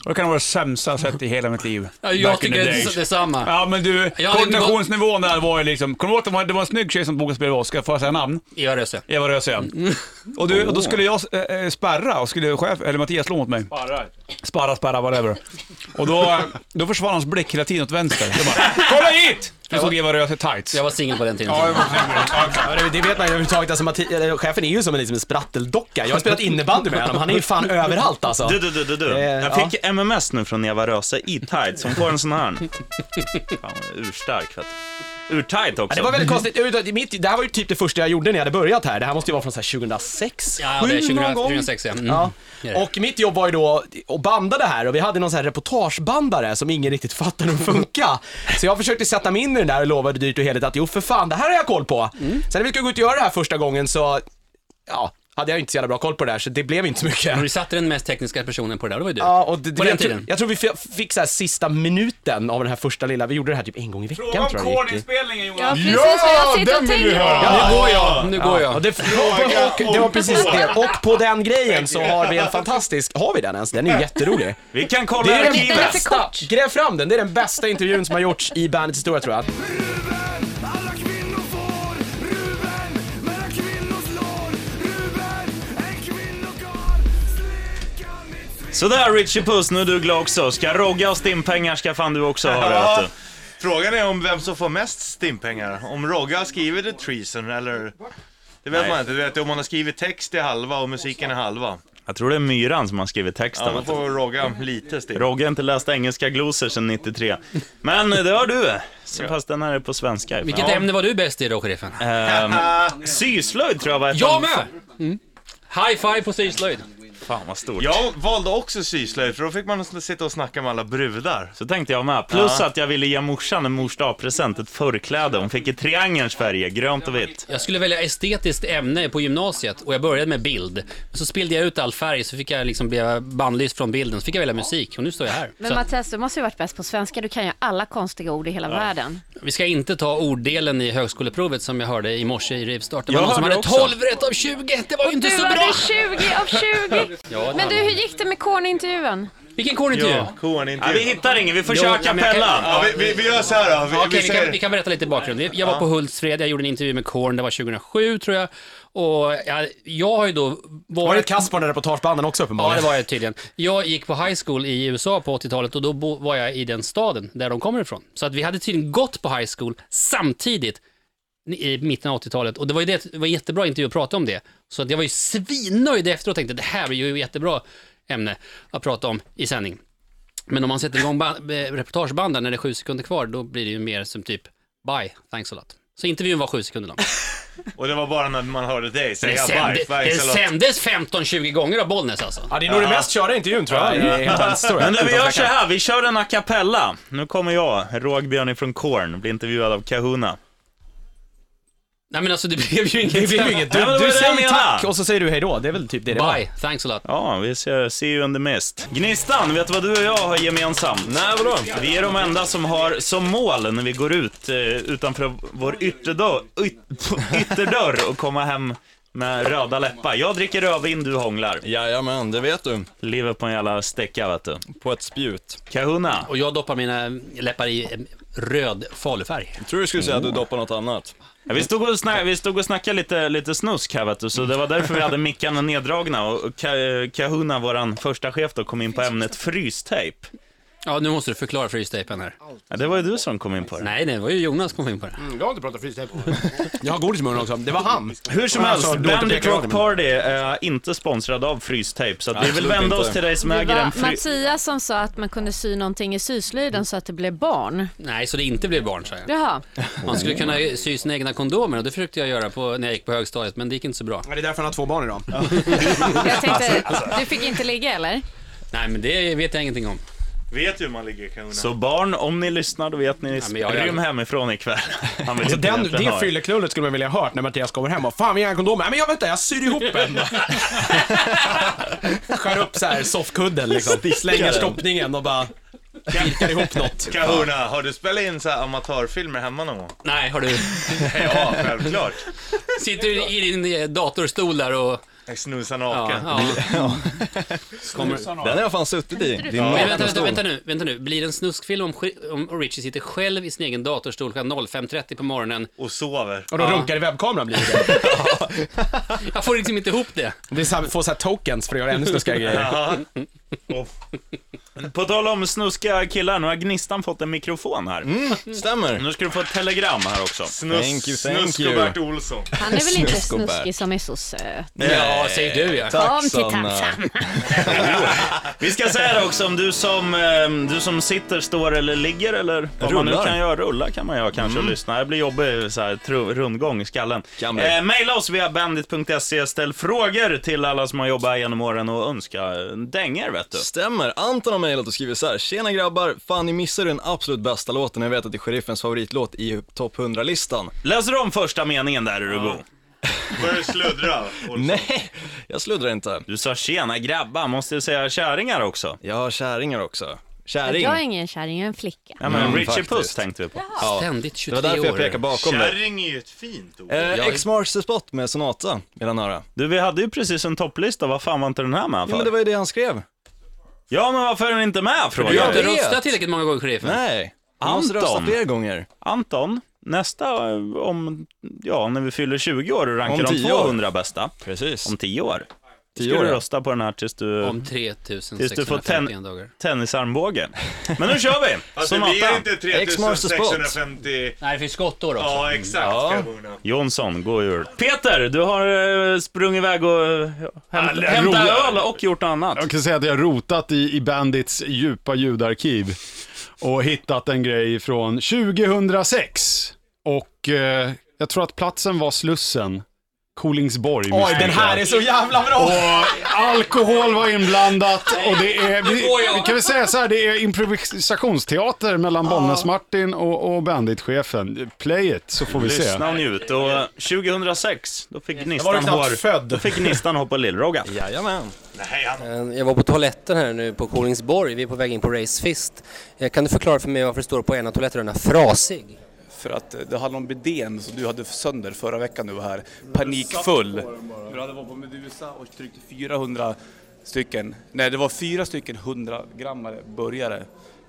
S1: Och det kan vara det sämsta jag sett i hela mitt liv.
S16: Ja, jag
S1: Back in
S16: tycker
S1: the
S16: det är
S1: days.
S16: detsamma.
S1: Ja men du,
S16: Jag hade inte
S1: koordinationsnivån där var ju liksom... Kommer du ihåg att det var- det var en snygg tjej som bokade spel med Oscar, får jag säga namn?
S16: Eva Röse.
S1: Eva Röse ja. Och, du, och då skulle jag eh, eh, spärra och skulle chef, eller Mattias slå mot mig. Sparra. Sparra, sparra, whatever. Och då, eh, då försvann hans blick hela tiden åt vänster. Jag bara, kolla hit! För jag såg Eva Röse i tights. Jag
S16: var singel på den tiden.
S1: Ja, jag var singel.
S3: Ja, det- Det vet man ju överhuvudtaget. Alltså, Matti, eller, chefen är ju som en, liksom, en spratteldocka. Jag har spelat innebandy med honom. Han är ju fan överallt alltså.
S2: Du, du, du, du, du.
S3: Eh,
S2: Jag
S3: ja.
S2: fick MMS nu från Eva Röse i tights. Hon får en sån här. Fan, urstark. vet du. Urtight
S3: Ja,
S2: också.
S3: det var väldigt konstigt. Överhuvudtaget, Mitt, det här var ju typ det första jag gjorde när jag hade börjat här. Det här måste ju vara från så här 2006?
S16: Ja,
S3: sju
S16: det är 2000
S3: någon gång.
S16: 2006, ja. Mm.
S3: ja.
S16: Det är det.
S3: Och mitt jobb var ju då att banda det här och vi hade någon så här reportagebandare som ingen riktigt fattade hur det funkar. Så jag försökte sätta mig in i den där och lovade dyrt och heligt att jo för fan, det här har jag koll på.
S16: Mm.
S3: Sen när vi skulle gå ut och göra det här första gången så, ja, hade jag ju inte så jävla bra koll på det där så det blev inte så mycket.
S16: Men du satte den mest tekniska personen på det där, det var ju du.
S3: Ja, och det,
S16: på den
S3: jag, tror-
S16: tiden.
S3: jag tror vi f- fick så här sista minuten av den här första lilla, vi gjorde det här typ en gång i veckan tror jag det gick till.
S13: Ja, precis vad jag sitter och tänker
S3: Ja, nu går jag.
S16: Nu går jag.
S3: Ja, och det, och, och, det var precis det. Och på den grejen så har vi en fantastisk, har vi den ens? Den är ju jätterolig.
S2: Vi kan
S3: det
S2: kolla
S3: är den
S2: arkivet.
S3: bästa, gräv fram den, det är den bästa intervjun som har gjorts i bandets historia tror jag.
S2: Sådär Richie Puss, nu är du glad också. Ska Rogga och Stimpengar ska fan du också ha det, vet du.
S6: Frågan är om vem som får mest stimpengar. Om Rogga har skrivit The Treason eller... Det vet
S2: Nej.
S6: man inte. Du vet, om man har skrivit text i halva och musiken är halva.
S2: Jag tror det är Myran som har skrivit texten.
S6: Ja, då
S2: vet du.
S6: får Rogga lite stim.
S2: Rogge har inte läst engelska glosor sedan 93. Men det har du. Så fast den här är på svenska.
S16: Vilket ämne var du bäst i då, chefen?
S2: Ehm, syslöjd tror jag var ett
S16: Jag
S2: av-
S16: med! Mm. High five på syslöjd.
S2: Fan vad stort.
S6: Jag valde också syslöjd för då fick man sitta och snacka med alla brudar.
S2: Så tänkte jag med. Plus
S6: Ja.
S2: att jag ville ge morsan en mors dag-present, ett förkläde. Hon fick i triangelns färger, grönt och vitt.
S16: Jag skulle välja estetiskt ämne på gymnasiet och jag började med bild. Men så spillde jag ut all färg så fick jag liksom bli bannlyst från bilden. Så fick jag välja musik och nu står jag här.
S4: Men
S16: Så att
S4: Mattias, du måste ju varit bäst på svenska. Du kan ju alla konstiga ord i hela världen.
S16: vi ska inte ta orddelen i högskoleprovet som jag hörde i morse i Rivstart. Det var
S4: Jag
S16: någon som
S4: hörde
S16: hade
S4: också.
S16: 12 rätt av 20. Det var ju inte
S4: du
S16: så
S4: hade
S16: bra.
S4: 20 av 20.
S16: Ja,
S4: Men du, hur gick det med kornintervjun?
S16: Vilken kornintervju?
S6: Ja, kornintervju.
S2: Ja, vi hittar ingen, vi får köra
S16: men jag
S2: kapella.
S16: kan-
S2: Ja, vi- vi- vi gör så här då. Vi-
S16: Ja,
S2: vi
S16: okej, vi,
S2: säger-
S16: kan, vi kan berätta lite i bakgrund. Vi- Jag var
S2: Ja.
S16: på Hultsfred, jag gjorde en intervju med Korn, det var 2007 tror jag. Och jag, jag har ju då
S3: Var det ett
S16: varit...
S3: kast på den där reportagebanden också
S16: Ja,
S3: uppenbarligen?
S16: det var jag tydligen. Jag gick på high school i USA på 80-talet och då bo, var jag i den staden där de kommer ifrån. Så att vi hade tydligen gått på high school samtidigt i mitten av 80-talet och det var ju det, det var en jättebra intervju att prata om det. Så att jag var ju svinnöjd efteråt och tänkte det här är ju ett jättebra ämne att prata om i sändning. Men om man sätter igång ba- eh, reportagebanden när det är sju sekunder kvar, då blir det ju mer som typ bye, thanks a lot. Så intervjun var sju sekunder lång.
S6: Och det var bara när man hörde dig
S16: Så det,
S6: säga
S16: sände,
S6: bajs, bajs
S16: det
S6: eller-
S16: sändes 15-20 gånger av Bollnäs alltså.
S3: Ja, det är nog det mest körda intervjun tror jag i hela bandets historia.
S2: Men du, vi
S3: Utan
S2: gör så
S3: tvekan.
S2: här, vi kör en a cappella. Nu kommer jag, Rågbjörn från Korn, blir intervjuad av Kahuna.
S16: Nej men alltså det blev ju inget.
S3: Det blev ju inget. Du,
S16: Ja, men det
S3: du
S16: var det jag
S3: säger
S16: menade.
S3: tack och så säger du hej då. Det är väl typ det det
S16: Bye. Thanks a lot.
S2: Ja, vi ser See you in the mist. Gnistan, vet du vad du och jag har gemensamt? Nej, vadå? Vi är de enda som har som mål när vi går ut eh, utanför vår ytterdörr, yt, ytterdörr och komma hem med röda läppar. Jag dricker rödvin, du hånglar. Jajamän, det vet du. Lever på en jävla stäcka, vet du. På ett spjut. Kahuna.
S16: Och jag doppar mina läppar i en röd falufärg. Jag
S2: tror du skulle säga att du doppar något annat. Mm. Ja, vi, stod och snack, vi stod och snackade lite, lite snusk här vet du, så det var därför vi hade mickarna neddragna och Ka- Kahuna, våran första chef då, kom in på ämnet frystejp.
S16: Ja, nu måste du förklara frystejpen här.
S2: Ja, det var ju du som kom in på det.
S16: Nej, det var ju Jonas som kom in på det.
S15: Mm, jag har inte pratat freestyle på
S3: Jag har godis i munnen också. Det var han.
S2: Hur som
S3: Han
S2: helst,
S3: sa, "Låt det
S2: Bandit
S3: peka
S2: Rock
S3: rakt."
S2: Party är inte sponsrad av Frystejp, så att vi vill
S3: Absolut
S2: vända
S3: inte.
S2: oss till dig som
S4: Det
S2: äger en
S4: var
S2: fry...
S4: Mattias som sa att man kunde sy någonting i syslöjden så att det blev barn.
S16: Nej, så det inte blev barn, säger jag.
S4: Jaha.
S16: Man skulle kunna sy sina egna kondomer och det försökte jag göra på, när jag gick på högstadiet, men det gick inte så bra.
S3: Det är därför han har två barn idag.
S4: Jag tänkte, du fick inte ligga eller?
S16: Nej, men det vet jag ingenting om.
S6: Vet du hur man ligger Kahuna?
S2: Så barn, om ni lyssnar, då vet ni.
S16: men jag-
S2: Rym hemifrån ikväll. Han
S3: Alltså den,
S2: egentligen
S3: det
S2: ha er.
S3: fylleklullet skulle man vilja ha hört när Mattias kommer hem och Fan vi har en kondom, nej men jag vänta jag syr ihop en. Skär upp så här soffkudden liksom,
S6: Stickar
S3: slänger
S6: den.
S3: stoppningen och bara virkar ihop något.
S6: Kahuna, har du spelat in så här amatörfilmer hemma någon gång?
S16: Nej, har du?
S6: ja, självklart.
S16: Sitter du i din eh, datorstol där och...
S6: Jag snusar naken.
S16: Ja, ja.
S6: Snusar naken. Den har jag fan suttit i. Din
S16: Men vänta, vänta,
S6: nakenstol.
S16: vänta nu, vänta nu. Blir det en snuskfilm om, sk- om Richie sitter själv i sin egen datorstol klockan 05.30 på morgonen?
S6: Och sover.
S3: Och då runkar i webbkameran blir det.
S16: Jag får liksom inte ihop det.
S3: Det är så här, får så här tokens för att göra ännu snuskigare grejer.
S2: På tal om snuska killar, nu har Gnistan fått en mikrofon här. stämmer. Nu ska du få ett telegram här också.
S6: Mm, Snus- Thank you, thank Snusk och you. Bert Olsson.
S4: Han är väl inte snuskig som är så söt?
S2: Ja, säger du ja.
S4: Kom till
S2: Sanna.
S4: Tarzan.
S2: Vi ska säga det också, om du som, eh, du som sitter, står eller ligger eller vad man nu
S6: Rullar.
S2: kan göra. Rulla kan man göra kanske
S6: Mm.
S2: och lyssna. Det blir jobbig så här, tru- rundgång i skallen.
S6: bli.
S2: Eh, maila oss via bandit.se, ställ frågor till alla som har jobbat här genom åren och önska eh, dänger vet du.
S15: Stämmer. Anton har mejlat och skrivit så här. Tjena grabbar, fan ni missade den absolut bästa låten. Jag vet att det är sheriffens favoritlåt i topp 100-listan.
S2: Läser du om första meningen där är du god.
S6: Börjar sluddra.
S15: Nej, jag sluddrar inte.
S2: Du sa tjena grabbar, måste du säga käringar också?
S15: Ja, käringar också. Käring.
S4: Jag är ingen kärring, jag är en flicka.
S2: Ja, men
S15: Mm,
S2: Richie
S15: faktiskt.
S2: Puss tänkte vi på.
S15: Ja.
S16: Ständigt
S15: Det var därför jag pekade bakom dig.
S6: Kärring är ju ett fint ord.
S15: Eh, X marks the spot med Sonata, vill han höra.
S2: Du, vi hade ju precis en topplista, vad fan var inte den här med
S15: Ja,
S2: för?
S15: men det var ju det han skrev.
S2: Ja, men varför är den inte med? Frågar
S15: du har
S2: jag.
S15: inte röstat
S16: tillräckligt många gånger, chefen.
S15: Nej. Du måste rösta
S2: Anton.
S15: fler gånger.
S2: Anton, nästa eh, om, ja, när vi fyller 20 år och rankar
S15: Om
S2: de
S15: tio år.
S2: 200 bästa. Precis. Om 10 år. Då
S15: Tio
S2: ska
S15: år,
S2: du
S15: ja.
S2: rösta på den här tills du...
S16: Om
S2: Tills du får
S16: 3651 dagar.
S2: ten, tennisarmbågen. Men nu kör Alltså, vi!
S6: Fast det
S2: Sonata.
S6: blir inte 3650...
S16: Nej, det finns skottår också.
S6: Ja, exakt.
S2: Ja.
S6: Kahuna.
S2: Jonsson, gå ur. Peter, du har eh, sprungit iväg och eh, hämt,
S12: Alla
S2: hämtat
S12: roliga-
S2: öl och gjort annat.
S12: Jag kan säga att jag har rotat i, i Bandits djupa ljudarkiv och hittat en grej från 2006. Och eh, jag tror att platsen var Slussen, Kolingsborg.
S3: Oj,
S12: misstänker
S3: den här
S12: jag.
S3: är så jävla bra!
S12: Och alkohol var inblandat och det är, vi, vi kan väl säga så här, det är improvisationsteater mellan Bollnäs-Martin och, och Bandit-chefen. Play it så får vi se.
S2: Lyssna och njut. Och eh, 2006, då fick Gnistan
S12: var du knappt
S2: hår-
S12: född.
S2: Då fick Gnistan hår på Lill-Rogga.
S18: Jajamän. Eh, Jag var på toaletten här nu på Kolingsborg. Vi är på väg in på Racefist. Eh, Kan du förklara för mig varför det står på ena toalettrullarna frasig?
S20: För att eh, det handlar om bidén som du hade sönder förra veckan när du var här. Panikfull. Du hade varit på Medusa och tryckte 400 stycken, nej det var fyra stycken 100-grammare burgare.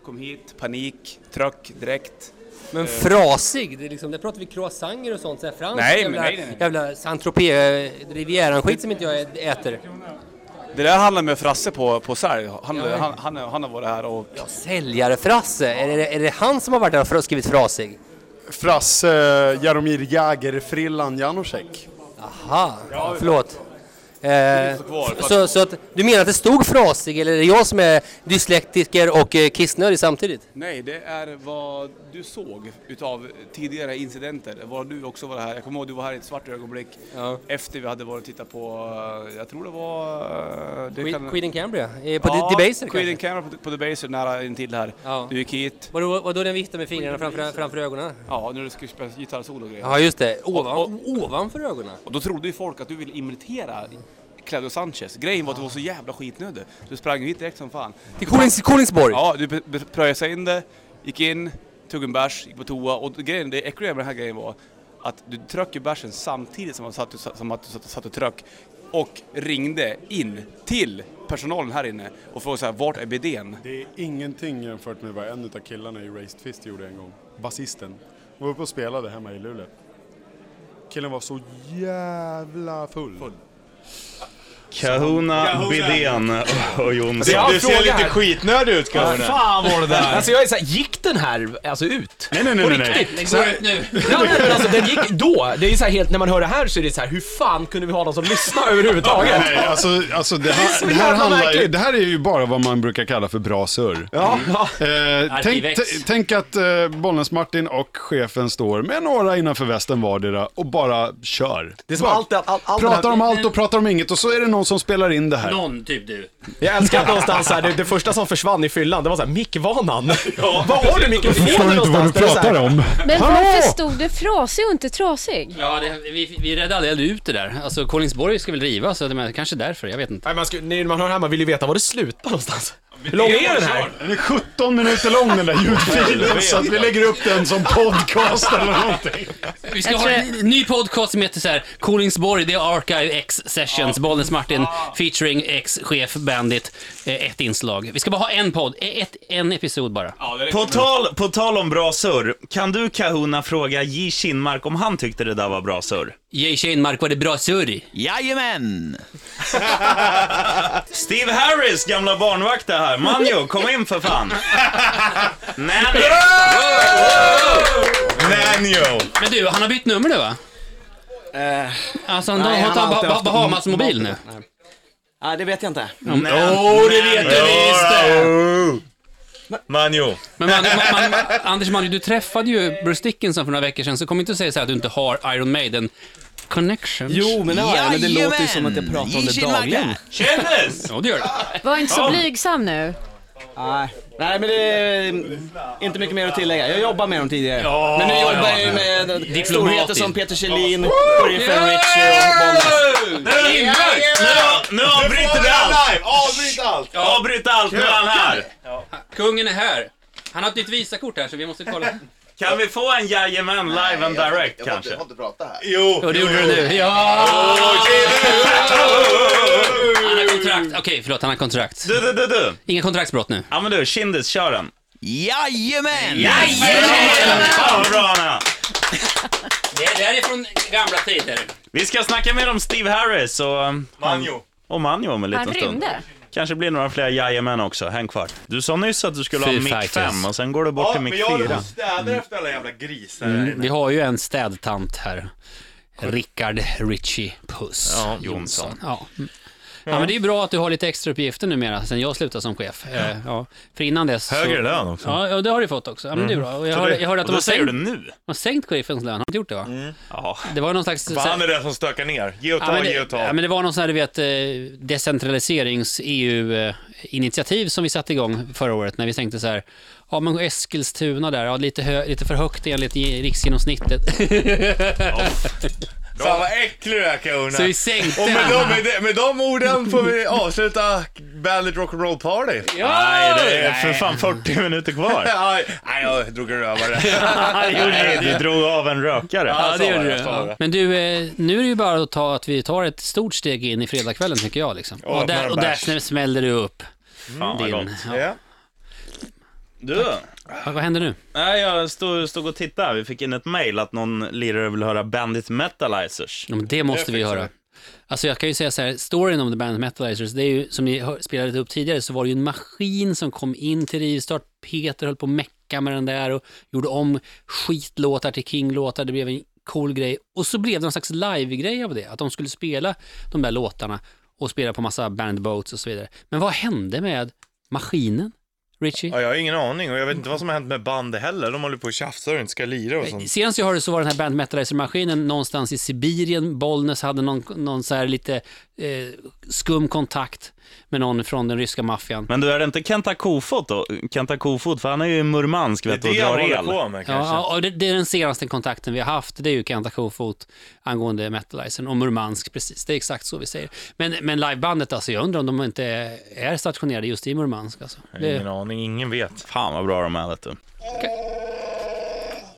S20: Kom hit, panik, tröck direkt.
S18: Men
S20: Eh,
S18: frasig, det är liksom, där pratar vi croissanter och sånt. Så här franskt
S20: Nej, men
S18: jävla,
S20: nej, nej, nej.
S18: jävla Saint-Tropez-rivieran-skit som inte jag ä- äter.
S20: Det där handlar med Frasse på, på sälj. Eh, Han, han, han, han har varit här och...
S18: Säljare-Frasse, är, det- är det han som har varit där och fr- skrivit frasig?
S21: Frasse Jaromir Jagr Frillan Janocek.
S18: Aha, förlåt. Eh, så, så att, du menar att det stod frasig eller är det jag som är dyslektiker och eh, kissnödig samtidigt?
S20: Nej, det är vad du såg utav tidigare incidenter. Var du också var här. Jag kommer ihåg du var här i ett svart ögonblick efter vi hade varit och tittat på, eh, jag tror det var... eh, Det
S18: Queen- Queen in Cambria, eh, på
S20: ja,
S18: The- Debaser
S20: Queen in
S18: kanske?
S20: Cambria på, på Debaser nära intill här. Du gick hit.
S18: Var då, var då den viftade med fingrarna framför, framför ögonen?
S20: Ja, när du skulle spela gitarrsolo och grejer.
S18: Ja, just det. Ovan-
S20: Och- och-
S18: ovanför ögonen.
S20: Och då trodde ju folk att du ville imitera Claudio Sanchez. Grejen var att du var så jävla skitnödig. Du sprang hit direkt som fan.
S18: Till Konings, Koningsborg?
S20: Ja, du be- be- pröjsade in det, gick in, tog en bärs, gick på toa och grejen, det äckliga med den här grejen var att du tröck ju bärsen samtidigt som, man satt, som att du satt, satt och tröck och ringde in till personalen här inne och frågade så här, vart är bidén?
S21: Det är ingenting jämfört med vad en av killarna i Raised Fist gjorde en gång. Basisten. De var uppe och spelade hemma i Luleå. Killen var så jävla full.
S2: Kahuna,
S21: Kahuna.
S2: Bidén och
S3: Det är
S2: Jonsson.
S3: en
S2: Du ser
S3: fråga
S2: lite
S3: här.
S2: skitnödig ut Kahuna.
S3: Alltså jag är såhär, gick den här alltså ut?
S2: Nej, nej, nej,
S3: På
S2: nej, nej.
S3: riktigt?
S2: Den går
S3: Så här-
S2: ut nu.
S3: Nej, nej, men alltså den gick då. Det är ju så här helt, när man hör det här så är det så här, hur fan kunde vi ha någon som lyssnar överhuvudtaget?
S12: Nej, alltså, alltså det,
S3: Det är så
S12: här, det, här
S3: jävla
S12: handlar, ju-
S3: märkligt.
S12: det här är ju bara vad man brukar kalla för bra surr.
S3: Ja.
S12: Eh, tänk,
S3: Arkivex.
S12: t- tänk att eh, Bollnäs-Martin och chefen står med några innanför västen vardera och bara kör.
S3: Det är som allt, allt, allt, allt
S12: pratar om allt och pratar om inget och så är det någon som spelar in det här.
S16: Någon, typ du.
S3: Jag älskar att någonstans här, det, det första som försvann i fyllan, det var såhär mickvanan. Ja, var har du mikrofonen
S12: Förstår inte vad du
S3: någonstans? Det är så här-
S12: pratar om.
S4: Men varför stod det frasig och inte trasig?
S16: Ja, det, vi, vi redde aldrig ut det där. Alltså, Kolingsborg ska väl riva, så det, men, kanske därför. Jag vet inte.
S3: Nej, man, ska, när man hör det här, man vill ju veta var det slutar någonstans. Hur lång är den här?
S12: Den är 17 minuter lång den där ljudfilen så att vi lägger upp den som podcast eller någonting.
S16: Vi ska ha en ny podcast som heter så här, Kolingsborg, The Archive X Sessions, Bollnäs Martin
S3: Ah.
S16: featuring ex-chef Bandit. Eh, Ett inslag. Vi ska bara ha en podd, eh, ett, en episod bara.
S2: På tal, på tal om bra surr, kan du Kahuna fråga J Kinmark om han tyckte det där var bra surr?
S16: J Kinmark, var det bra surr?
S2: Jajamän! Steve Harris, gamla barnvakt är här. Manjo, kom in för fan. Nanny! Nanjo!
S16: Men du, han har bytt nummer nu va?
S3: Eh,
S16: alltså, han,
S22: nej, han
S16: har
S22: har
S16: tagit
S22: alltid
S16: ba,
S22: haft-
S16: Bahamas mobil nu.
S22: Nej. Ja, det vet jag inte.
S16: Åh, oh, det vet du visst det!
S2: Manjo.
S16: Men man, man, man, Anders Manjo, du träffade ju Bruce Dickinson för några veckor sedan, så kom inte och säga så här att du inte har Iron Maiden connections.
S22: Jo, men det har jag, men det låter ju som att jag pratar om det
S16: Jajamän!
S22: dagligen.
S2: Kändes!
S16: Ja, det gör det.
S4: Var inte så
S22: Ja.
S4: blygsam nu.
S22: Nej, nej men det är eh, inte mycket mer att tillägga. Jag jobbar med dem tidigare.
S16: Ja,
S22: men nu jobbar jag
S16: ja,
S22: ju
S16: ja.
S22: med
S16: Diplomatiskt.
S22: storheter som Peter Kjellin, Sheriffen
S16: Yeah!
S22: Ritchie och Bollnäs.
S2: Nu, nu avbryter vi allt! Avbryt allt! Avbryt allt, nu är han här!
S16: Kungen är här. Han har ett nytt visakort här, så vi måste kolla.
S2: Kan vi få en jajamän live and direct kanske? Jag har inte pratat här. Jo!
S16: Jo, det gjorde du nu. Ja! Han har kontrakt. Okej, förlåt, han har kontrakt.
S2: Du, du, du, du.
S16: Inga kontraktsbrott nu.
S2: Ja, men du, Kindis, kör den.
S16: Jajamän!
S2: Fan vad bra
S16: Jajamän!
S2: han är.
S16: Det där är från gamla tider.
S2: Vi ska snacka mer om Steve Harris och... Manjo. Och Manjo om en liten
S16: Han
S2: stund.
S16: rymde.
S2: Kanske blir det några fler jajamän också, häng kvar. Du sa nyss att du skulle
S16: Foo
S2: ha mick
S16: Fighters.
S2: 5 och sen går du bort till mick
S6: men
S2: 4.
S6: jag städar efter alla jävla grisar här
S16: Mm,
S6: inne.
S16: vi har ju en städtant här. Rickard Ritchie Puss
S2: Ja, Jonsson.
S16: Jonsson. Ja. Mm. Ja, men det är ju bra att du har lite extra uppgifter numera sen jag slutade som chef. Eh, Ja. För innan dess...
S2: Högre
S16: så...
S2: lön också. Mm.
S16: Ja, ja, det har du fått också. Ja, men det är bra. Och jag,
S2: Så
S16: hörde,
S2: det-
S16: jag hörde att
S2: och
S16: de
S2: då
S16: har
S2: säger
S16: sänkt,
S2: du nu? Mm.
S16: de har sänkt chefens lön. Har de inte gjort det va?
S2: Ja.
S16: Det var någon slags...
S6: För han är den som stökar ner. Ge och
S16: Ja,
S6: ta,
S16: men det-
S6: ge och ta.
S16: Ja, men det var någon sån här, du vet, eh, E decentraliserings-EU-initiativ eh, som vi satte igång förra året när vi tänkte så här, ja men Eskilstuna där, ja, lite, hö- lite för högt enligt ge- riksgenomsnittet.
S6: Fan vad äcklig du är Kahuna.
S16: Så vi sänkte
S6: Och med de,
S16: den.
S6: med, de, med de orden får vi avsluta Bandit Rock'n'Roll Party.
S16: Ja!
S2: Nej, det är Eh, för fan 40 minuter kvar.
S6: Ja, Nej, jag drog en rövare.
S2: Nej, du drog av en rökare.
S16: Ja, det gjorde du.
S2: Jag sa
S16: Ja. Men du, eh, nu är det ju bara att ta att vi tar ett stort steg in i fredagskvällen tycker jag. Liksom.
S2: Ja,
S16: och där,
S2: några
S16: och där
S2: bärs.
S16: snä- smäller du upp.
S2: Fan, vad gott.
S16: ja.
S2: Du.
S16: Vad vad händer nu?
S2: Nej, jag stod, stod och tittade. Vi fick in ett mail att någon lirare vill höra Bandit Metalizers.
S16: Ja, men det måste vi höra. Alltså jag kan ju säga så här, storyn om The Band Metalizers, det är ju som ni hör- spelade lite upp tidigare, så var det ju en maskin som kom in till rivstart. Peter höll på att mecka med den där och gjorde om skitlåtar till King-låtar. Det blev en cool grej. Och så blev det någon slags live-grej av det, att de skulle spela de där låtarna och spela på massa bandboats och så vidare. Men vad hände med maskinen, Richie?
S6: Ja, jag har ingen aning och jag vet inte vad som har hänt med bandet heller. De håller på och tjafsar och inte ska lira och sånt.
S16: Eh, Senast jag hörde så var den här Band Metalizer-maskinen någonstans i Sibirien. Bollnäs hade någon, någon så här lite eh, skum kontakt med någon från den ryska maffian.
S2: Men du, är det inte Kenta Kofot då? Kenta Kofot, för han är ju i Murmansk vet du, och drar el.
S16: Ja, och det, det är den senaste kontakten vi har haft. Det är ju Kenta Kofot angående Metalizern och Murmansk, precis. Det är exakt så vi säger. Men, men livebandet, alltså, jag undrar om de inte är stationerade just i Murmansk. Alltså. Det,
S2: Ingen aning, ingen vet. Fan vad bra de är vet du.